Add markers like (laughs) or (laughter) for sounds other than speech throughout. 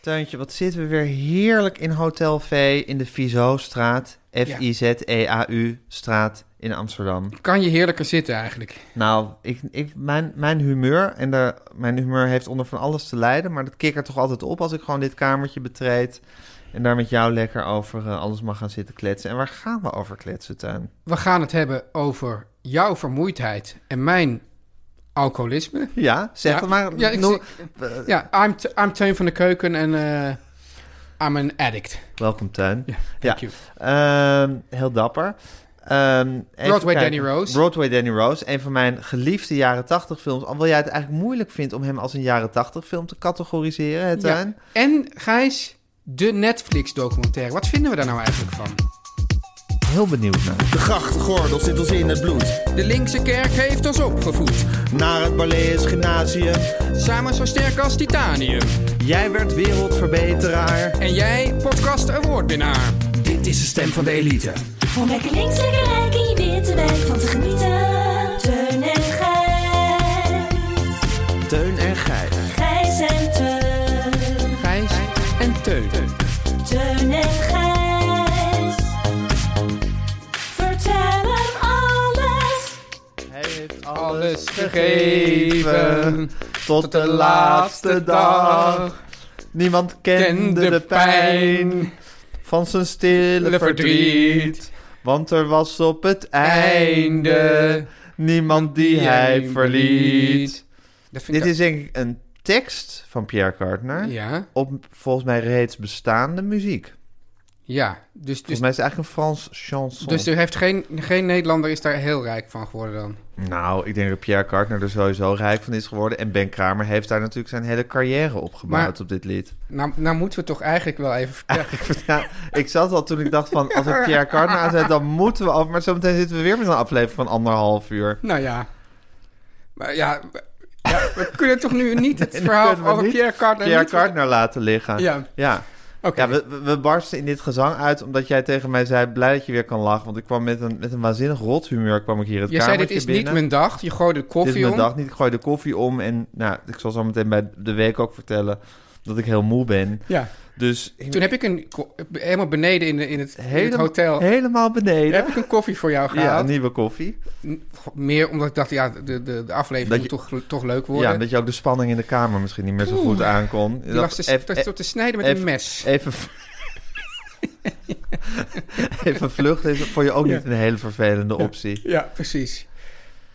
Tuintje, wat zitten we weer heerlijk in Hotel V in de Vizo-straat. E F-I-Z-E-A-U-straat in Amsterdam. Kan je heerlijker zitten eigenlijk. Nou, ik, ik, mijn, mijn humeur, en de, mijn humeur heeft onder van alles te lijden, maar dat kikkert toch altijd op als ik gewoon dit kamertje betreed en daar met jou lekker over eh, alles mag gaan zitten kletsen. En waar gaan we over kletsen, Tuin? We gaan het hebben over jouw vermoeidheid en mijn alcoholisme. Ja, zeg Ja, het maar. ja, ik Noem- eh, Ja, I'm, T- I'm Teun van de Keuken en eh I'm an addict. Welkom, Tuin. Ja, Ja. thank you. Ehm, heel dapper. Ehm, even Broadway kijken. Danny Rose. Broadway Danny Rose, een van mijn geliefde jaren 80 films. Alhoewel jij het eigenlijk moeilijk vindt om hem als een jaren 80 film te categoriseren, hè, Ja. Tuin? En Gijs, de Netflix documentaire. Wat vinden we daar nou eigenlijk van? Heel benieuwd naar. De grachtgordel zit ons in het bloed. De linkse kerk heeft ons opgevoed. Naar het Balees Gymnasium. Samen zo sterk als titanium. Jij werd wereldverbeteraar. En jij, podcast awardwinnaar. Dit is de stem van de elite. Om lekker links, lekker rijk in je witte wijk van te genieten. Teun en Gijs. Teun en Gijs. Gijs en Teun. Gijs en Teun. Teun en Gijs. Vertel hem alles. Hij heeft Alles gegeven. tot de laatste dag. Niemand En kende de pijn. van zijn stille De verdriet. verdriet. Want er was op het einde Einde. niemand die hij verliet. Dat vind Dit ik is denk ik een tekst van Pierre Cardin Ja, op volgens mij reeds bestaande muziek. Volgens ja. Dus, dus, mij is het eigenlijk een Frans chanson. dus er heeft geen, geen Nederlander is daar heel rijk van geworden dan. Nou, ik denk dat Pierre Cardin er sowieso rijk van is geworden. En Ben Kramer heeft daar natuurlijk zijn hele carrière op gebouwd Maar- op dit lied. (laughs) Nou, nou moeten we toch eigenlijk wel even vertellen. Ja, ik zat al toen ik dacht van, als we Pierre Cardin aan zijn, dan moeten we af. Maar zometeen zitten we weer met een aflevering van anderhalf uur. (laughs) nou ja. Maar ja, we- ja, we kunnen toch (laughs) nu niet het verhaal kunnen we over niet. Pierre Cardin... Pierre niet vertellen? Cardin laten liggen. Ja. Ja. Oké. Ja, we, we- we barsten in dit gezang uit omdat jij tegen mij zei, blij dat je weer kan lachen. Want ik kwam met een, met een waanzinnig rot humeur kwam ik hier het Je zei, kamertje dit is niet binnen. mijn dag. Je gooide de koffie Dit is mijn om. dag niet. Ik gooi de koffie om en nou, ik zal zo meteen bij de week ook vertellen dat ik heel moe ben. Ja. Dus ik- Toen heb ik een... ko- Helemaal beneden in, de, in, het, in het helemaal- hotel... helemaal beneden. Heb ik een koffie voor jou Ja, gehaald? een nieuwe koffie. Meer omdat ik dacht, ja, de, de, de Dat aflevering je- moet toch, toch leuk Ja, worden. dat je ook de spanning in de kamer misschien niet meer zo goed aankon. Die lag te, even, tot, te snijden met even- een mes. even, (laughs) even vluchten is voor je ook niet een hele vervelende optie. Ja, precies.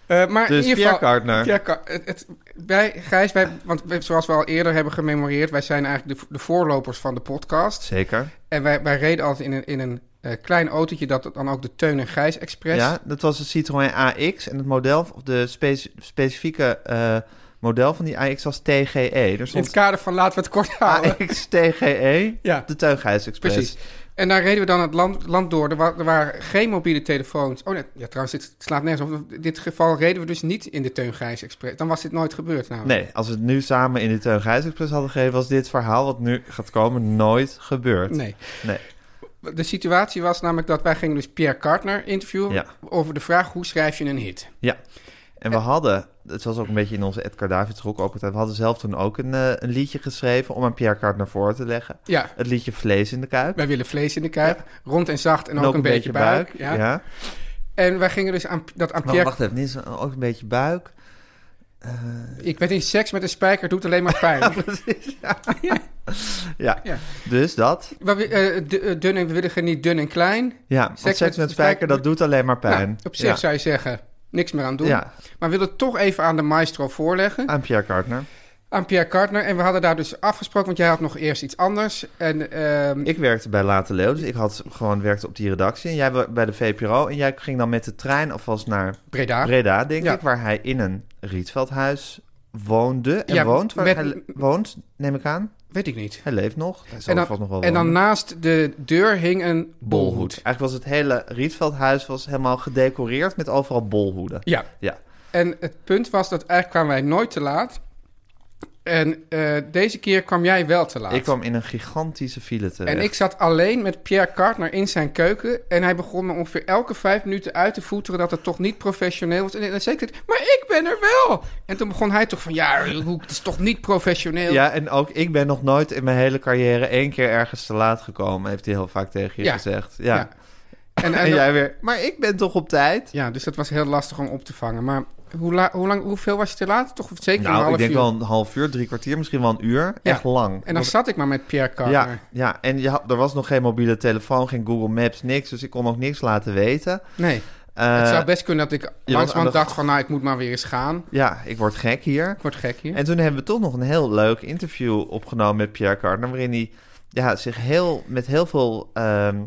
Eh, maar Dus in ieder geval, Pierre Cardin. Pierre Car- het, het- wij, Gijs, wij, want we- zoals we al eerder hebben gememoreerd... wij zijn eigenlijk de, de voorlopers van de podcast. Zeker. En wij, wij reden altijd in een, in een eh, klein autootje... dat dan ook de Teun en Gijs Express... Ja, dat was de Citroën AX en het model, of de spe- specifieke eh, model van die AX was TGE. Er in het stond kader van laten we het kort houden. AX TGE, Ja. E, de Teughuis (laughs) Express. Precies. En daar reden we dan het land, land door. Er, wa- er waren geen mobiele telefoons. Oh nee, ja, trouwens, dit slaat nergens op. In dit geval reden we dus niet in de Teun Gijs Express. Dan was dit nooit gebeurd namelijk. Nee, als we het nu samen in de Teughuis Express hadden gegeven, was dit verhaal wat nu gaat komen nooit gebeurd. Nee. Nee. De situatie was namelijk dat wij gingen dus Pierre Kartner interviewen... Ja. over de vraag hoe schrijf je een hit. Ja. En we hadden, het was ook een beetje in onze Edgar Davids hoek ook altijd, we hadden zelf toen ook een, eh, een liedje geschreven om aan Pierre Card naar voren te leggen. Ja, Het liedje Vlees in de Kuip. wij willen vlees in de kuip. Rond en zacht en, ook, een beetje, buik. ja. ja. En wij gingen dus aan dat aan Maar Pierre... wacht even, dit is ook een beetje buik. Ik weet niet, seks met een spijker doet alleen maar (laughs) pijn. Ja. Ja. Dus dat. Maar we, eh, d- eh, dun en we willen geen niet dun en klein. Ja, want met- seks met, spijker, dat doet alleen maar pijn. Nou, op zich ja. zou je zeggen, niks meer aan doen. Ja, Maar we willen het toch even aan de maestro voorleggen. aan Pierre Cardner. Aan Pierre Kartner. En we hadden daar dus afgesproken, want jij had nog eerst iets anders. En ehm, Ik werkte bij Late Leeuw, dus ik had gewoon werkte op die redactie. En jij wa- bij de VPRO. En jij ging dan met de trein alvast naar Breda. Breda, denk Ja. ik, waar hij in een Rietveldhuis woonde en Ja, woont. Waar met- hij le- woont, neem ik aan. Weet ik niet. Hij leeft nog. Hij zal En vast nog wel dan, en dan wonen. naast de deur hing een bolhoed. bolhoed. Eigenlijk was het hele Rietveldhuis was helemaal gedecoreerd met overal bolhoeden. Ja. Ja. En het punt was dat eigenlijk kwamen wij nooit te laat. En eh, deze keer kwam jij wel te laat. Ik kwam in een gigantische file terecht. Ah. En ik zat alleen met Pierre Kartner in zijn keuken. En hij begon me ongeveer elke vijf minuten uit te voeteren dat het toch niet professioneel was. En, en zeker, maar ik ben er wel. En toen begon hij toch van, ja, hoe- het is toch niet professioneel. Ja, en ook ik ben nog nooit in mijn hele carrière één keer ergens te laat gekomen, heeft hij heel vaak tegen je Ja. gezegd. Ja. Ja. En, En, en, jij weer, maar ik ben toch op tijd? ja, dus dat was heel lastig om op te vangen. Maar hoe la- hoe lang, hoeveel was je te laat? Toch zeker een Nou, half ik denk uur. wel een half uur, drie kwartier, misschien wel een uur. Ja. Echt lang. En dan zat ik maar met Pierre Kartner. ja, ja, en je had, er was nog geen mobiele telefoon, geen Google Maps, niks. Dus ik kon nog niks laten weten. Nee, Eh, het zou best kunnen dat ik aan de- langzamerhand dacht van, nou, ik moet maar weer eens gaan. Ja, ik word gek hier. Ik word gek hier. En toen hebben we toch nog een heel leuk interview opgenomen met Pierre Cardin, waarin hij ja, zich heel, met heel veel ehm,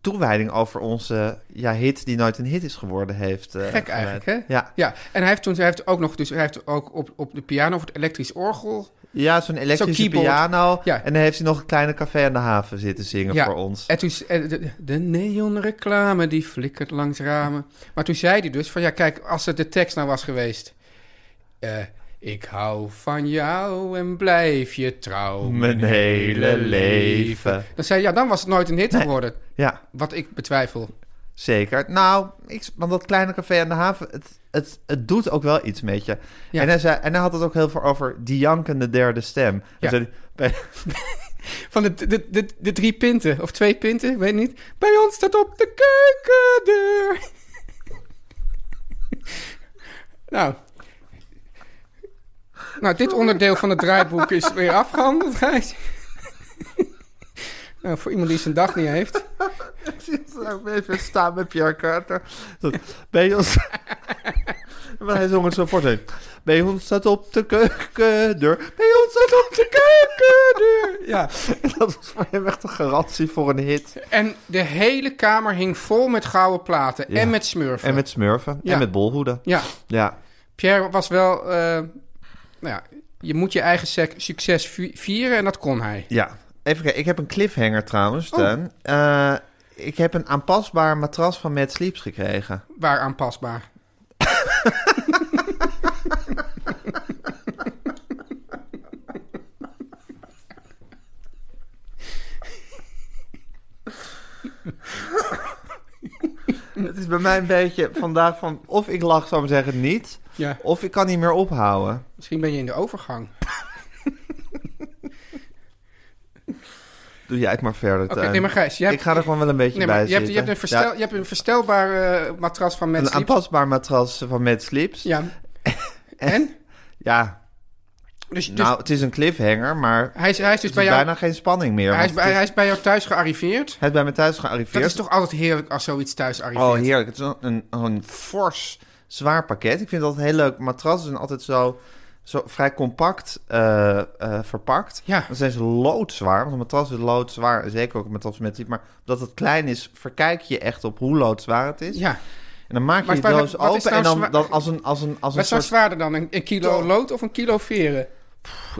toewijding over onze ja, hit die nooit een hit is geworden heeft. eh, Gek eigenlijk, hè? Ja, Ja, en hij heeft toen hij heeft ook nog, dus hij heeft ook op, op de piano of het elektrisch orgel. ja zo'n elektrische keyboard. piano. Ja. En dan heeft hij nog een kleine café aan de haven zitten zingen ja, voor ons. En toen, s- en de, de neonreclame die flikkert langs ramen. Maar toen zei hij dus van, ja kijk, als het de tekst nou was geweest. eh, ik hou van jou en blijf je trouw Mijn hele leven. Dan zei hij, ja, dan was het nooit een hit Nee. geworden. Ja, Wat ik betwijfel. zeker. Nou, ik, want dat kleine café aan de haven, het, het, het doet ook wel iets met je. Ja. En, hij zei, en hij had het ook heel veel over die jankende derde stem. Ja. Hij zei, bij, Van de, de, de, de drie pinten, of twee pinten, ik weet niet. Bij ons staat op de keukendeur. (laughs) nou. Nou, dit onderdeel van het draaiboek is weer afgehandeld, Gijs. (laughs) nou, voor iemand die zijn dag niet heeft. Zou (laughs) ik even staan met Pierre Carter? Dat, bij ons... (laughs) Want hij zong het zo voor zijn. Bij ons staat op de keukendeur. Bij ons staat op de keukendeur. Ja. En (laughs) Dat was voor hem echt een garantie voor een hit. En de hele kamer hing vol met gouden platen Ja. en met smurfen. En met smurfen. Ja. En met bolhoeden. Ja, Ja. Pierre was wel... eh, nou ja, je moet je eigen sec- succes vi- vieren en dat kon hij. ja. Even kijken. Ik heb een cliffhanger trouwens, Teun. Eh, ik heb een aanpasbaar matras van Mad Sleeps gekregen. Waar aanpasbaar. (laughs) Het is bij mij een beetje vandaag van... Of ik lach, zou ik zeggen, niet. Ja. Of ik kan niet meer ophouden. Misschien ben je in de overgang. Doe jij het maar verder, Oké, Teun. nee, maar Gijs, je hebt, ik ga er gewoon wel een beetje nee, bij maar je hebt, je zitten. hebt een verstel, Ja, je hebt een verstelbaar eh, matras van een mensen. aanpasbaar matras van Mad Sleeps. Ja, Ja. (laughs) en? Dus, dus nou, het is een cliffhanger, maar hij, is, hij is het dus is bij jou... bijna geen spanning meer. hij, want is bij, het, hij is bij jou thuis gearriveerd. hij is bij me thuis Dat gearriveerd. is toch altijd heerlijk als zoiets thuis arriveert. Oh, heerlijk. Het is een, een, een fors, zwaar pakket. Ik vind dat een heel leuk matras. Ze zijn altijd zo, zo vrij compact eh, eh, verpakt. Ja. Dan zijn ze loodzwaar, want een matras is loodzwaar. en Zeker ook een matras met diep. Maar omdat het klein is, verkijk je echt op hoe loodzwaar het is. Ja. En dan maak je Maar je waar- doos wat is open nou en dan, zwaar- dan als een, als een, als een Wat zou soort zwaarder dan? Een, een kilo Toch. lood of een kilo veren?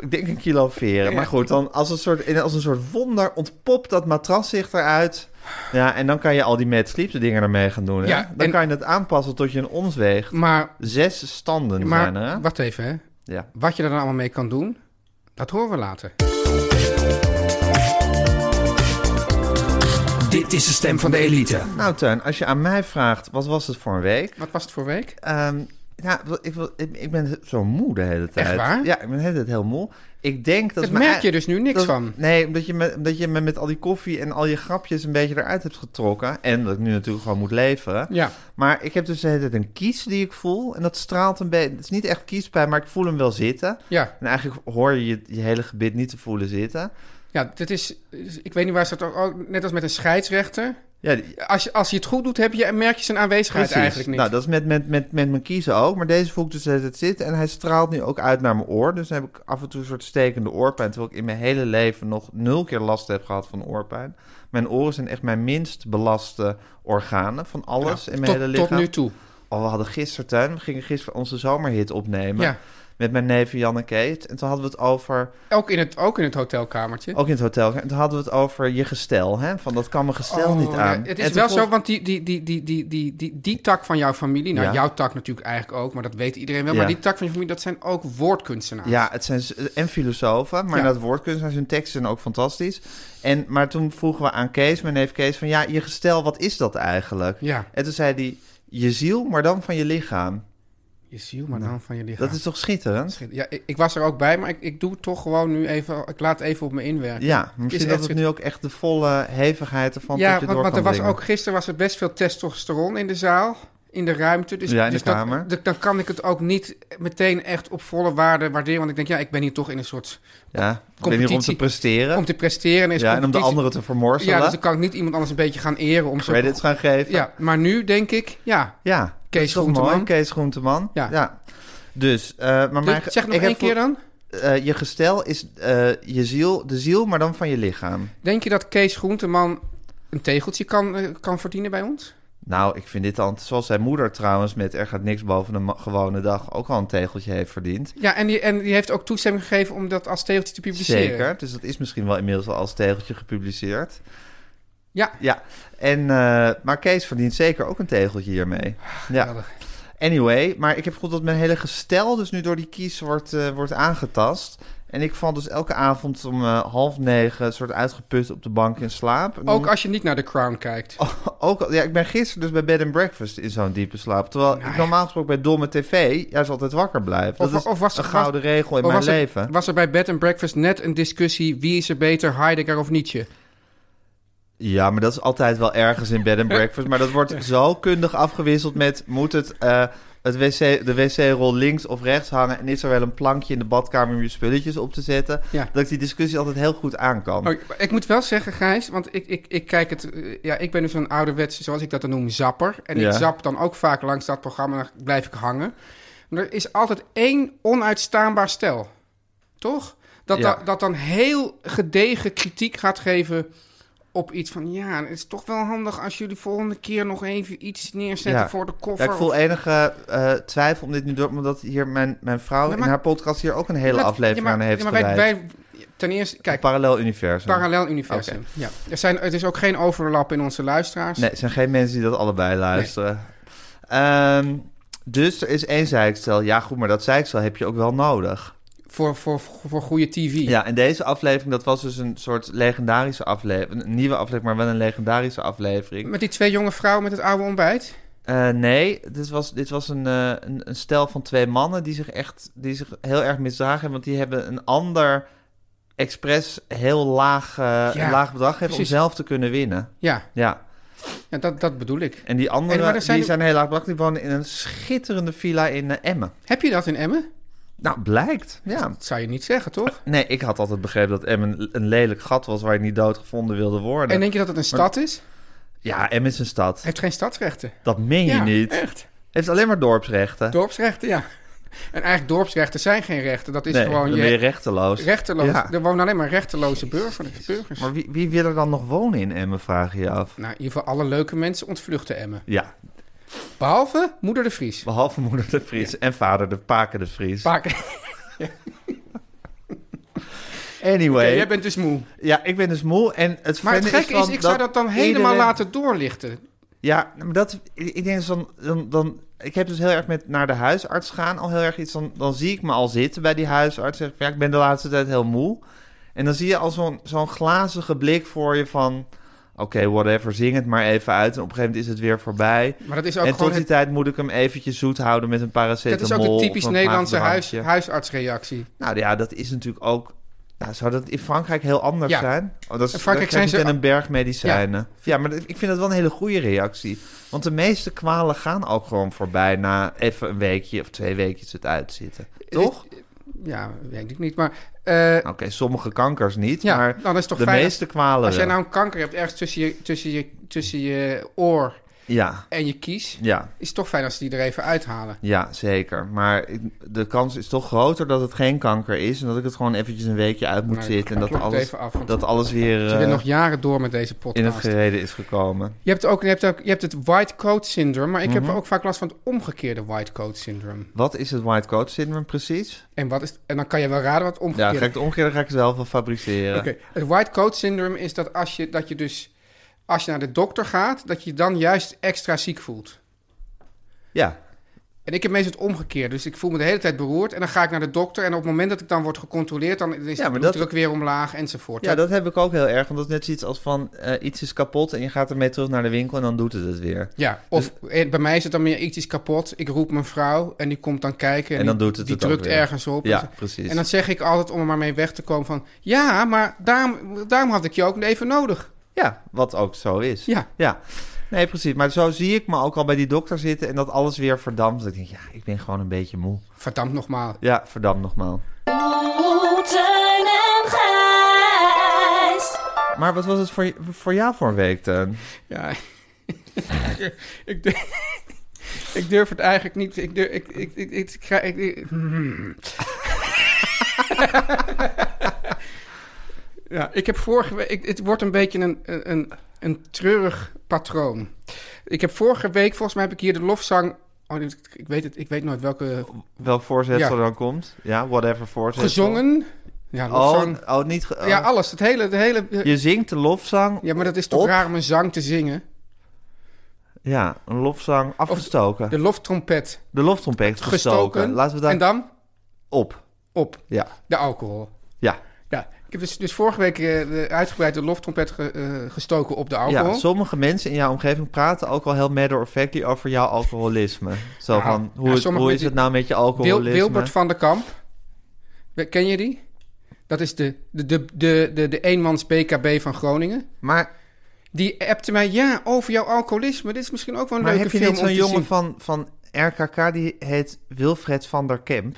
Ik denk een kilo veren. Maar goed, dan als een soort, als een soort wonder ontpopt dat matras zich eruit. Ja, en dan kan je al die Mad Sleeps dingen ermee gaan doen. Hè? Ja, dan en- kan je het aanpassen tot je een ons weegt. Maar, Zes standen zijn er, hè? maar wacht even, hè. Ja. Wat je er dan allemaal mee kan doen, dat horen we later. Dit is de stem van de elite. Nou, Tuin, als je aan mij vraagt, wat was het voor een week? Wat was het voor week? Ehm, Ja, ik, wil, ik, ik ben zo moe de hele tijd. waar? Ja, ik ben de hele tijd heel moe. Ik denk dat... Dat mijn- merk je dus nu niks dat- van. Nee, omdat je, me, omdat je me met al die koffie en al je grapjes een beetje eruit hebt getrokken. En dat ik nu natuurlijk gewoon moet leveren. Ja. Maar ik heb dus de hele tijd een kies die ik voel. En dat straalt een beetje... Het is niet echt kiespijn, maar ik voel hem wel zitten. Ja, En eigenlijk hoor je je, je hele gebit niet te voelen zitten. ja, dat is. Ik weet niet waar ze dat ook- ook. Net als met een scheidsrechter. Ja, die- Als je, als je het goed doet, heb je, merk je zijn aanwezigheid precies. eigenlijk niet. Nou, dat is met, met, met, met mijn kiezen ook. Maar deze voel ik dus de hele tijd zitten. En hij straalt nu ook uit naar mijn oor. Dus dan heb ik af en toe een soort stekende oorpijn. Terwijl ik in mijn hele leven nog nul keer last heb gehad van oorpijn. Mijn oren zijn echt mijn minst belaste organen van alles in mijn Nou, tot, hele tot lichaam. nu toe. Oh, we hadden gisteren, Teun, we gingen gisteren onze zomerhit opnemen. Ja. Met mijn neef Jan en Kees. En toen hadden we het over, Ook in het, ook in het hotelkamertje. ook in het hotel, en toen hadden we het over je gestel. Hè? Van dat kan mijn gestel Oh, niet ja, aan. Het En is toen wel vroeg- zo, want die, die, die, die, die, die, die, die tak van jouw familie, nou Ja. jouw tak natuurlijk eigenlijk ook, maar dat weet iedereen wel. Ja. Maar die tak van je familie, dat zijn ook woordkunstenaars. Ja, het zijn z- en filosofen, maar Ja. dat woordkunstenaars, hun teksten zijn ook fantastisch. En, maar toen vroegen we aan Kees, mijn neef Kees, van ja, je gestel, wat is dat eigenlijk? Ja, En toen zei hij, je ziel, maar dan van je lichaam. je ziel, maar dan van je lichaam. Nou, Dat is toch schitterend? Ja, ik, ik was er ook bij, maar ik, ik doe het toch gewoon nu even, ik laat even op me inwerken. Ja, misschien echt dat het nu ook echt de volle hevigheid ervan Ja, tot je want, door want kan er was dringen. ook, gisteren was er best veel testosteron in de zaal, in de ruimte. Dus, Ja, in de dus dat- kamer. dat- dan kan ik het ook niet meteen echt op volle waarde waarderen, want ik denk, ja, ik ben hier toch in een soort, ja, ik ben hier om te competitie. presteren. om te presteren. is ja, en om de competitie- anderen te vermorzelen. Ja, dus dan kan ik niet iemand anders een beetje gaan eren om zo. credits gaan geven. Ja, maar nu denk ik, ja. Ja, dat Kees is toch Groenteman. mooi? Kees Groenteman. Ja. Dus, eh, maar mijn, Dus, zeg nog ik heb één keer voor- dan. eh, je gestel is eh, je ziel, de ziel, maar dan van je lichaam. Denk je dat Kees Groenteman een tegeltje kan, eh, kan verdienen bij ons? Nou, ik vind dit al, zoals zijn moeder trouwens met Er gaat niks boven een ma- gewone dag ook al een tegeltje heeft verdiend. Ja, en die, en die heeft ook toestemming gegeven om dat als tegeltje te publiceren. Zeker, dus dat is misschien wel inmiddels al als tegeltje gepubliceerd. Ja. Ja, en, eh, maar Kees verdient zeker ook een tegeltje hiermee. Ja, Geweldig. anyway, maar ik heb gevoeld dat mijn hele gestel dus nu door die kies wordt, eh, wordt aangetast. En ik val dus elke avond om eh, half negen soort uitgeput op de bank in slaap. En dan- Ook als je niet naar The Crown kijkt. (laughs) Ook al- ja, ik ben gisteren dus bij Bed and Breakfast in zo'n diepe slaap. Terwijl ik normaal gesproken bij domme tv juist altijd wakker blijf. Dat Nou Of- is of was- een was- gouden regel in Of mijn Oh, was, leven. Er, was er bij Bed and Breakfast net een discussie... wie is er beter, Heidegger of Nietzsche? Ja, maar dat is altijd wel ergens in (laughs) Bed and Breakfast. maar dat wordt zo kundig afgewisseld met... moet het, eh, het wc, de wc-rol links of rechts hangen... en is er wel een plankje in de badkamer om je spulletjes op te zetten... Ja. dat ik die discussie altijd heel goed aan kan. Oh, ik- ik moet wel zeggen, Gijs, want ik, ik, ik kijk het... eh, Ja, ik ben dus een ouderwetse, zoals ik dat dan noem, zapper. En Ja. ik zap dan ook vaak langs dat programma, dan blijf ik hangen. Maar er is altijd één onuitstaanbaar stel. Toch? Dat, Ja. dan- dat dan heel gedegen kritiek gaat geven op iets van... Ja, het is toch wel handig als jullie volgende keer nog even iets neerzetten Ja. voor de Ja, koffer. ik voel of- enige eh, twijfel om dit nu door... omdat hier mijn, mijn vrouw Ja, in maar- haar podcast... hier ook een hele Laat- aflevering ja, maar- aan heeft ja, maar wij, gewijd. wij- Ten eerste, Een kijk, Parallel universum. parallel universum. Oké. Ja. Er, zijn, het is ook geen overlap in onze luisteraars. Nee, er zijn geen mensen die dat allebei luisteren. Ehm, dus er is één zeikstel. Ja, goed, maar dat zeikstel heb je ook wel nodig. Voor, voor, voor goede tv. Ja, en deze aflevering, dat was dus een soort legendarische aflevering. Een nieuwe aflevering, maar wel een legendarische aflevering. Met die twee jonge vrouwen met het oude ontbijt. Eh, nee, dit was, dit was een, eh, een, een stel van twee mannen die zich echt die zich heel erg misdragen hebben. Want die hebben een ander expres heel laag, eh, Ja, laag bedrag gegeven om precies. zelf te kunnen winnen. Ja, Ja. ja dat, dat bedoel ik. En die En- maar anderen, er zijn die ook- zijn heel laag bedrag, die wonen in een schitterende villa in eh, Emmen. Heb je dat in Emmen? Nou, blijkt. Ja. Dat zou je niet zeggen, toch? Nee, ik had altijd begrepen dat Emmen een- een lelijk gat was waar je niet doodgevonden wilde worden. En denk je dat het een stad is? Ja, Emmen is een stad. Heeft geen stadsrechten. Dat meen je ja, niet. echt. Heeft alleen maar dorpsrechten. Dorpsrechten, ja. En eigenlijk dorpsrechten zijn geen rechten. Dat is nee, gewoon dan ben je je rechteloos. rechteloos. Ja. Er wonen alleen maar rechteloze burgers. burgers. Maar wie, wie wil er dan nog wonen in Emmen, vraag je je af. Nou, in ieder geval alle leuke mensen ontvluchten Emmen. Ja, Behalve moeder de Vries. behalve moeder de Vries en vader de Paken de Vries. Vaak. (laughs) Anyway, Jij bent dus moe. ja, ik ben dus moe en het Maar het vreemde gekke van is, ik zou dat dan helemaal iedereen- laten doorlichten. Ja, maar dat, ik ik denk dus dan, dan, dan, ik heb dus heel erg met naar de huisarts gaan al heel erg iets, dan, dan zie ik me al zitten bij die huisarts, zeg ik, ja, ik ben de laatste tijd heel moe. En dan zie je al zo'n zo'n glazige blik voor je van, whatever, zing het maar even uit. En op een gegeven moment is het weer voorbij. Maar dat is ook En tot gewoon... die Het, tijd moet ik hem eventjes zoet houden met een paracetamol. dat is ook de of typisch een Nederlandse huis, maagdrankje. huisartsreactie. Nou ja, dat is natuurlijk ook... Nou, zou dat in Frankrijk heel anders Ja. zijn? Oh, dat is, In Frankrijk zijn ze- En een berg medicijnen. Ja, maar dat- ik vind dat wel een hele goede reactie. Want de meeste kwalen gaan ook gewoon voorbij... na even een weekje of twee weekjes het uitzitten. Eh, Toch? Ja, weet ik niet. Maar eh, Oké, sommige kankers niet, ja, maar nou, dat is toch de fijn. meeste kwalen Als jij wel. nou een kanker hebt ergens tussen je, tussen je, tussen je oor Ja, en je kies, ja, is het toch fijn als ze die er even uithalen. ja, zeker. Maar ik- de kans is toch groter dat het geen kanker is... en dat ik het gewoon eventjes een weekje uit moet Nou, ik zitten... en dat klop het alles, even af, want dat alles weer Ze willen eh, nog jaren door met deze in het podcast. gereden is gekomen. Je hebt, ook, je, hebt ook, je hebt het white coat syndrome, maar ik Mhm. heb ook vaak last van het omgekeerde white coat syndrome. Wat is het white coat syndrome precies? En, wat is, en dan kan je wel raden wat Ja, omgekeerd ga ik het omgekeerde ga ik zelf wel fabriceren. Oké, Het white coat syndrome is dat als je, dat je dus als je naar de dokter gaat, dat je je dan juist extra ziek voelt. Ja, En ik heb meestal het omgekeerd. Dus ik voel me de hele tijd beroerd. En dan ga ik naar de dokter. En op het moment dat ik dan word gecontroleerd, dan is Ja, de maar bloeddruk dat- weer omlaag enzovoort. ja, dat heb ik ook heel erg. Want dat is net zoiets als van eh, iets is kapot en je gaat ermee terug naar de winkel en dan doet het het weer. Ja, of dus- eh, bij mij is het dan meer iets is kapot. Ik roep mijn vrouw en die komt dan kijken. En dan die, doet het Die het ook drukt weer. ergens op. Ja, En zo. precies. En dan zeg ik altijd om er maar mee weg te komen van... Ja, maar daarom, daarom had ik je ook even nodig. Ja, wat ook zo is. Ja. ja. Nee, precies. Maar zo zie ik me ook al bij die dokter zitten en dat alles weer verdampt. Dat ik denk, ja, ik ben gewoon een beetje moe. Verdampt nogmaals. Ja, verdampt nogmaals. Oeh, Teun en Gijs. Maar wat was het voor, voor jou voor een week, Teun? Ja. (laughs) ik, durf, ik durf het eigenlijk niet. Ik durf, ik, ik, ik, ik, ik, ga- ik- ik- (laughs) Hmm. ja, ik heb vorige week... ik- Het wordt een beetje een, een, een treurig patroon. Ik heb vorige week, volgens mij heb ik hier de lofzang... Oh, dit- ik, weet het, ik weet nooit welke... Welk voorzetsel Ja. dan komt? Ja, whatever voorzetsel. Gezongen. Ja, Oh, lofzang. oh niet... ge- Ja, oh. oh. alles. Het hele... De hele Je zingt de lofzang. ja, maar dat is toch op? raar om een zang te zingen? Ja, een lofzang afgestoken. De loftrompet De loftrompet gestoken. gestoken. Laten we daar En dan op. op. Ja, De alcohol. ja. Ja, ik heb dus, dus vorige week eh, de uitgebreide loftrompet ge- eh, gestoken op de alcohol. ja. Sommige mensen in jouw omgeving praten ook al heel matter of factly over jouw alcoholisme. Zo Nou, van, hoe, ja, het- sommige hoe is mensen- het nou met je Wil- alcoholisme? Wilbert van der Kamp. We- Ken je die? Dat is de, de, de, de, de, de eenmans BKB van Groningen. Maar, Die appte mij, ja, over jouw alcoholisme. Dit is misschien ook wel een maar leuke heb je film niet om zo'n te jongen zien. van, van RKK die heet Wilfred van der Kemp?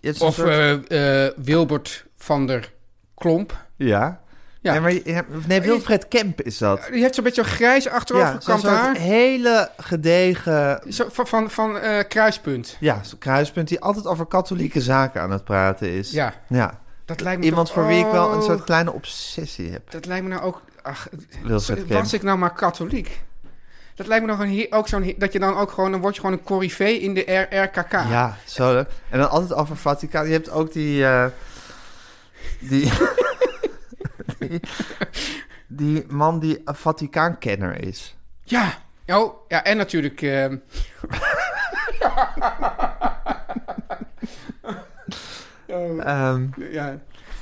Je hebt zo'n Of soort- eh, eh, Wilbert van der Klomp. ja. ja. Nee, maar, je- ja, nee, Wilfred Kemp is dat. Die heeft zo'n beetje grijs zo'n achterovergekant soort haar. hele gedegen Zo, van van, van eh, kruispunt. Ja, zo'n kruispunt die altijd over katholieke zaken aan het praten is. Ja. ja. Dat lijkt me Iemand toch- voor wie ik wel een oh, soort kleine obsessie heb. Dat lijkt me nou ook... Ach, Wilfred Was Kemp. ik nou maar katholiek? Dat lijkt me nog een, heer- ook zo'n... heer- Dat je dan ook gewoon... Dan word je gewoon een corrivee in de RRKK. Ja, zo. leuk. En dan altijd over Vaticaan. Je hebt ook die... eh, die, (laughs) die... die man die een Vaticaankenner is. Ja. Oh, ja, en natuurlijk... ehm, Oh, Ehm, ja.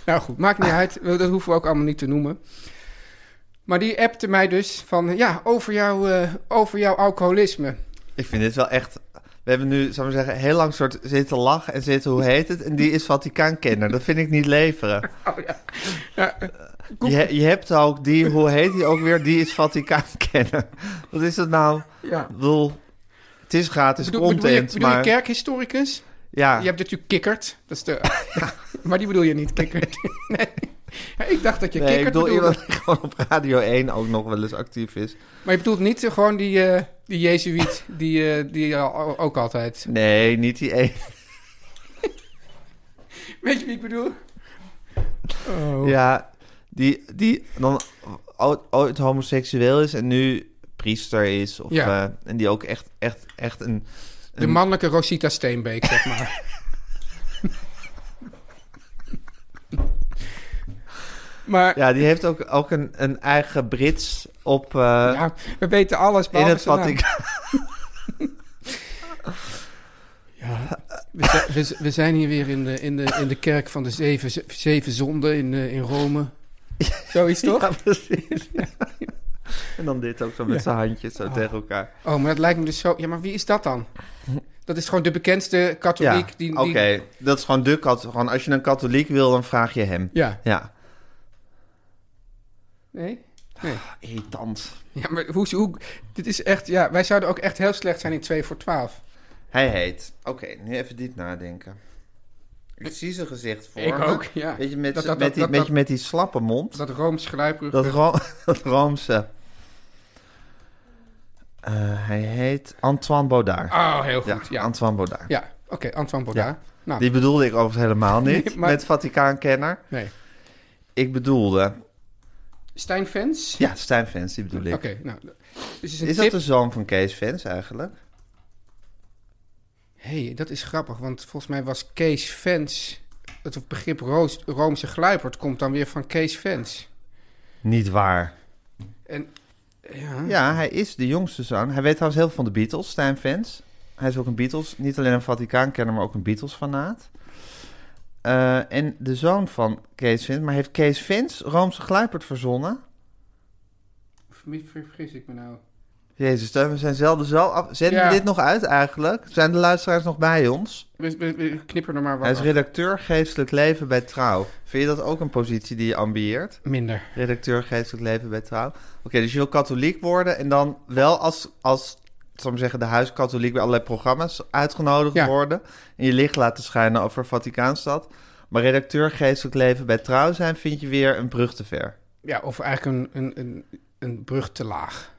Nou goed, maakt Ah. niet uit. Dat hoeven we ook allemaal niet te noemen. Maar die appte mij dus van... Ja, over, jou, eh, over jouw alcoholisme. ik vind dit wel echt... We hebben nu, zou ik maar zeggen, heel lang soort zitten lachen en zitten hoe heet het. En die is Vaticaankenner. Dat vind ik niet leveren. Oh ja. ja. eh, Je, je hebt ook die, hoe heet die ook weer? Die is Vaticaan kennen. Wat is dat nou? ja. Ik bedoel, het is gratis Bedoel, content, bedoel je, bedoel je maar... kerkhistoricus? ja, Je hebt natuurlijk kikkerd. Dat is de... (laughs) (laughs) maar die bedoel je niet, kikkerd. nee. Ja, Ik dacht dat je nee, ik kikkerd bedoel bedoelde. iemand die (laughs) gewoon op Radio 1 ook nog wel eens actief is. Maar je bedoelt niet eh, gewoon die, eh, die jezuïet, die, eh, die al- ook altijd... Nee, niet die één. Weet je wie ik bedoel? Oh. Ja, die, die dan ooit, ooit homoseksueel is en nu priester is. Of, Ja. eh, en die ook echt, echt, echt een... De mannelijke Rosita Steenbeek, zeg maar. (laughs) maar ja, Ja, die heeft ook, ook een, een eigen Brits op... eh, we weten alles in behalve het zijn naam. Vaticaan. We, zi- (laughs) we, zi- we zijn hier weer in de, in de, in de kerk van de zeven, zeven zonden in, eh, in Rome. Zoiets toch? Ja, (laughs) precies. en dan dit ook zo met zijn handjes zo tegen elkaar. Oh, maar dat lijkt me dus zo... Ja, maar wie is dat dan? Dat is gewoon de bekendste katholiek. die, oké. die- Dat is gewoon de katholiek. Gewoon als je een katholiek wil, dan vraag je hem. Ja. Ja. Nee? Nee. Irritant. (laughs) Ja, maar hoe, hoe... Dit is echt... Ja, wij zouden ook echt heel slecht zijn in 2 voor 12. Hij heet. Oké, nu even diep nadenken. Ik zie zijn gezicht voor Ik me. ook, ja. Weet je, met, Dat- z'n- dat- met, dat- die, dat- met, dat- je- met die slappe mond. Dat Rooms gluiperig. Dat, ro (laughs) dat Roomse. Eh, hij heet Antoine Baudard. Oh, heel goed. Ja, ja. Antoine Baudard. oké. Antoine Baudard. Nou, Die bedoelde ik overigens helemaal niet. Nee, maar- Met Vaticaankenner. nee. Ik bedoelde... Stijn Fens? Ja, Stijn Fens, die bedoel ik. Oké, nou. Dus is een Is tip... dat de zoon van Kees Fens eigenlijk? hey, dat is grappig, want volgens mij was Kees Fens... Het begrip Roos, Roomse gluiperd komt dan weer van Kees Fens. Niet waar. En ja, Ja, hij is de jongste zoon. Hij weet trouwens heel veel van de Beatles, Stijn Fans. Hij is ook een Beatles, niet alleen een Vaticaankenner, maar ook een Beatles-fanaat. Eh, en de zoon van Kees Vins, maar heeft Kees Vins Roomse Gluipert verzonnen? ver- vergis ik me nou. Jezus, Teun, we zijn zelden zo... Af... Zenden Ja. we dit nog uit eigenlijk? Zijn de luisteraars nog bij ons? We, we, we knippen er maar wat Hij is af. redacteur geestelijk leven bij Trouw. Vind je dat ook een positie die je ambieert? Minder. Redacteur geestelijk leven bij Trouw. Oké, dus je wil katholiek worden en dan wel als, als zal ik maar zeggen, de huiskatholiek bij allerlei programma's uitgenodigd Ja. worden. En je licht laten schijnen over Vaticaanstad. Maar redacteur geestelijk leven bij Trouw zijn vind je weer een brug te ver. Ja, of eigenlijk een, een, een, een brug te laag.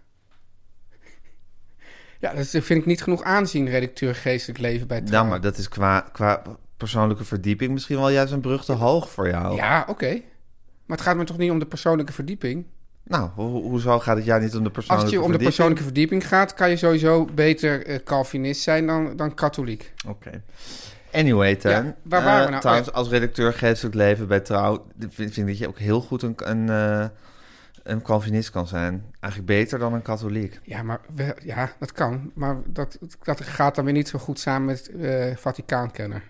Ja, dat is- vind ik niet genoeg aanzien, redacteur geestelijk leven bij Nou, Trouw. maar dat is qua, qua persoonlijke verdieping misschien wel juist een brug te hoog voor jou. Ja, oké. Maar het gaat me toch niet om de persoonlijke verdieping? Nou, ho- hoezo gaat het jou niet om de Als persoonlijke het je om de verdieping? persoonlijke verdieping gaat, kan je sowieso beter eh, Calvinist zijn dan, dan katholiek. Oké. Anyway, Teun. Ja, waar waren we eh, nou? Trouwens, Oh als redacteur geestelijk leven bij Trouw... vind, vind ik dat je ook heel goed een, een, eh, een Calvinist kan zijn. Eigenlijk beter dan een katholiek. Ja, maar wel- ja, dat kan. Maar dat, dat gaat dan weer niet zo goed samen met eh Vaticaankenner.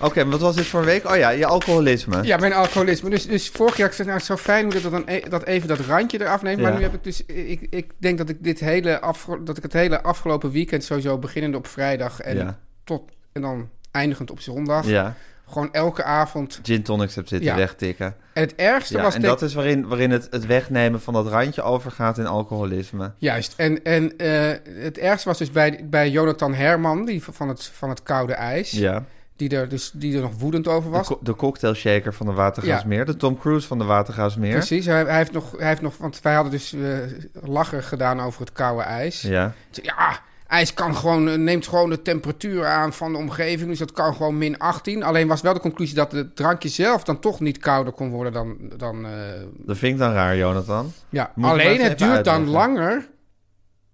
Oké, maar wat was dit voor een week? Oh ja, je alcoholisme. Ja, mijn alcoholisme. Dus, dus vorig jaar, ik zei, nou, het is zo fijn hoe dat, dan e- dat even dat randje eraf neemt. Maar Ja. nu heb ik dus, ik, ik denk dat ik, dit hele afge- dat ik het hele afgelopen weekend sowieso beginnend op vrijdag en, Ja. tot, en dan eindigend op zondag. Ja, Gewoon elke avond. gin tonics heb zitten Ja. wegtikken. En het ergste Ja, was... en denk- dat is waarin, waarin het, het wegnemen van dat randje overgaat in alcoholisme. Juist. En, en eh, het ergste was dus bij, bij Jonathan Herman, die van het, van het koude ijs. Ja. Die, er dus, die er nog woedend over De, was. co- de cocktail shaker van de Watergaasmeer. De Tom Cruise van de Watergaasmeer. Precies. Hij, hij heeft nog, hij heeft nog... Want wij hadden dus eh lachen gedaan over het koude ijs. Ja. Ja, ijs kan gewoon, eh, neemt gewoon de temperatuur aan van de omgeving. Dus dat kan gewoon min 18. Alleen was wel de conclusie dat het drankje zelf dan toch niet kouder kon worden dan... dan eh, Dat vind ik dan raar, Jonathan. ja. Moet je maar Alleen eens het even duurt dan uitleggen. langer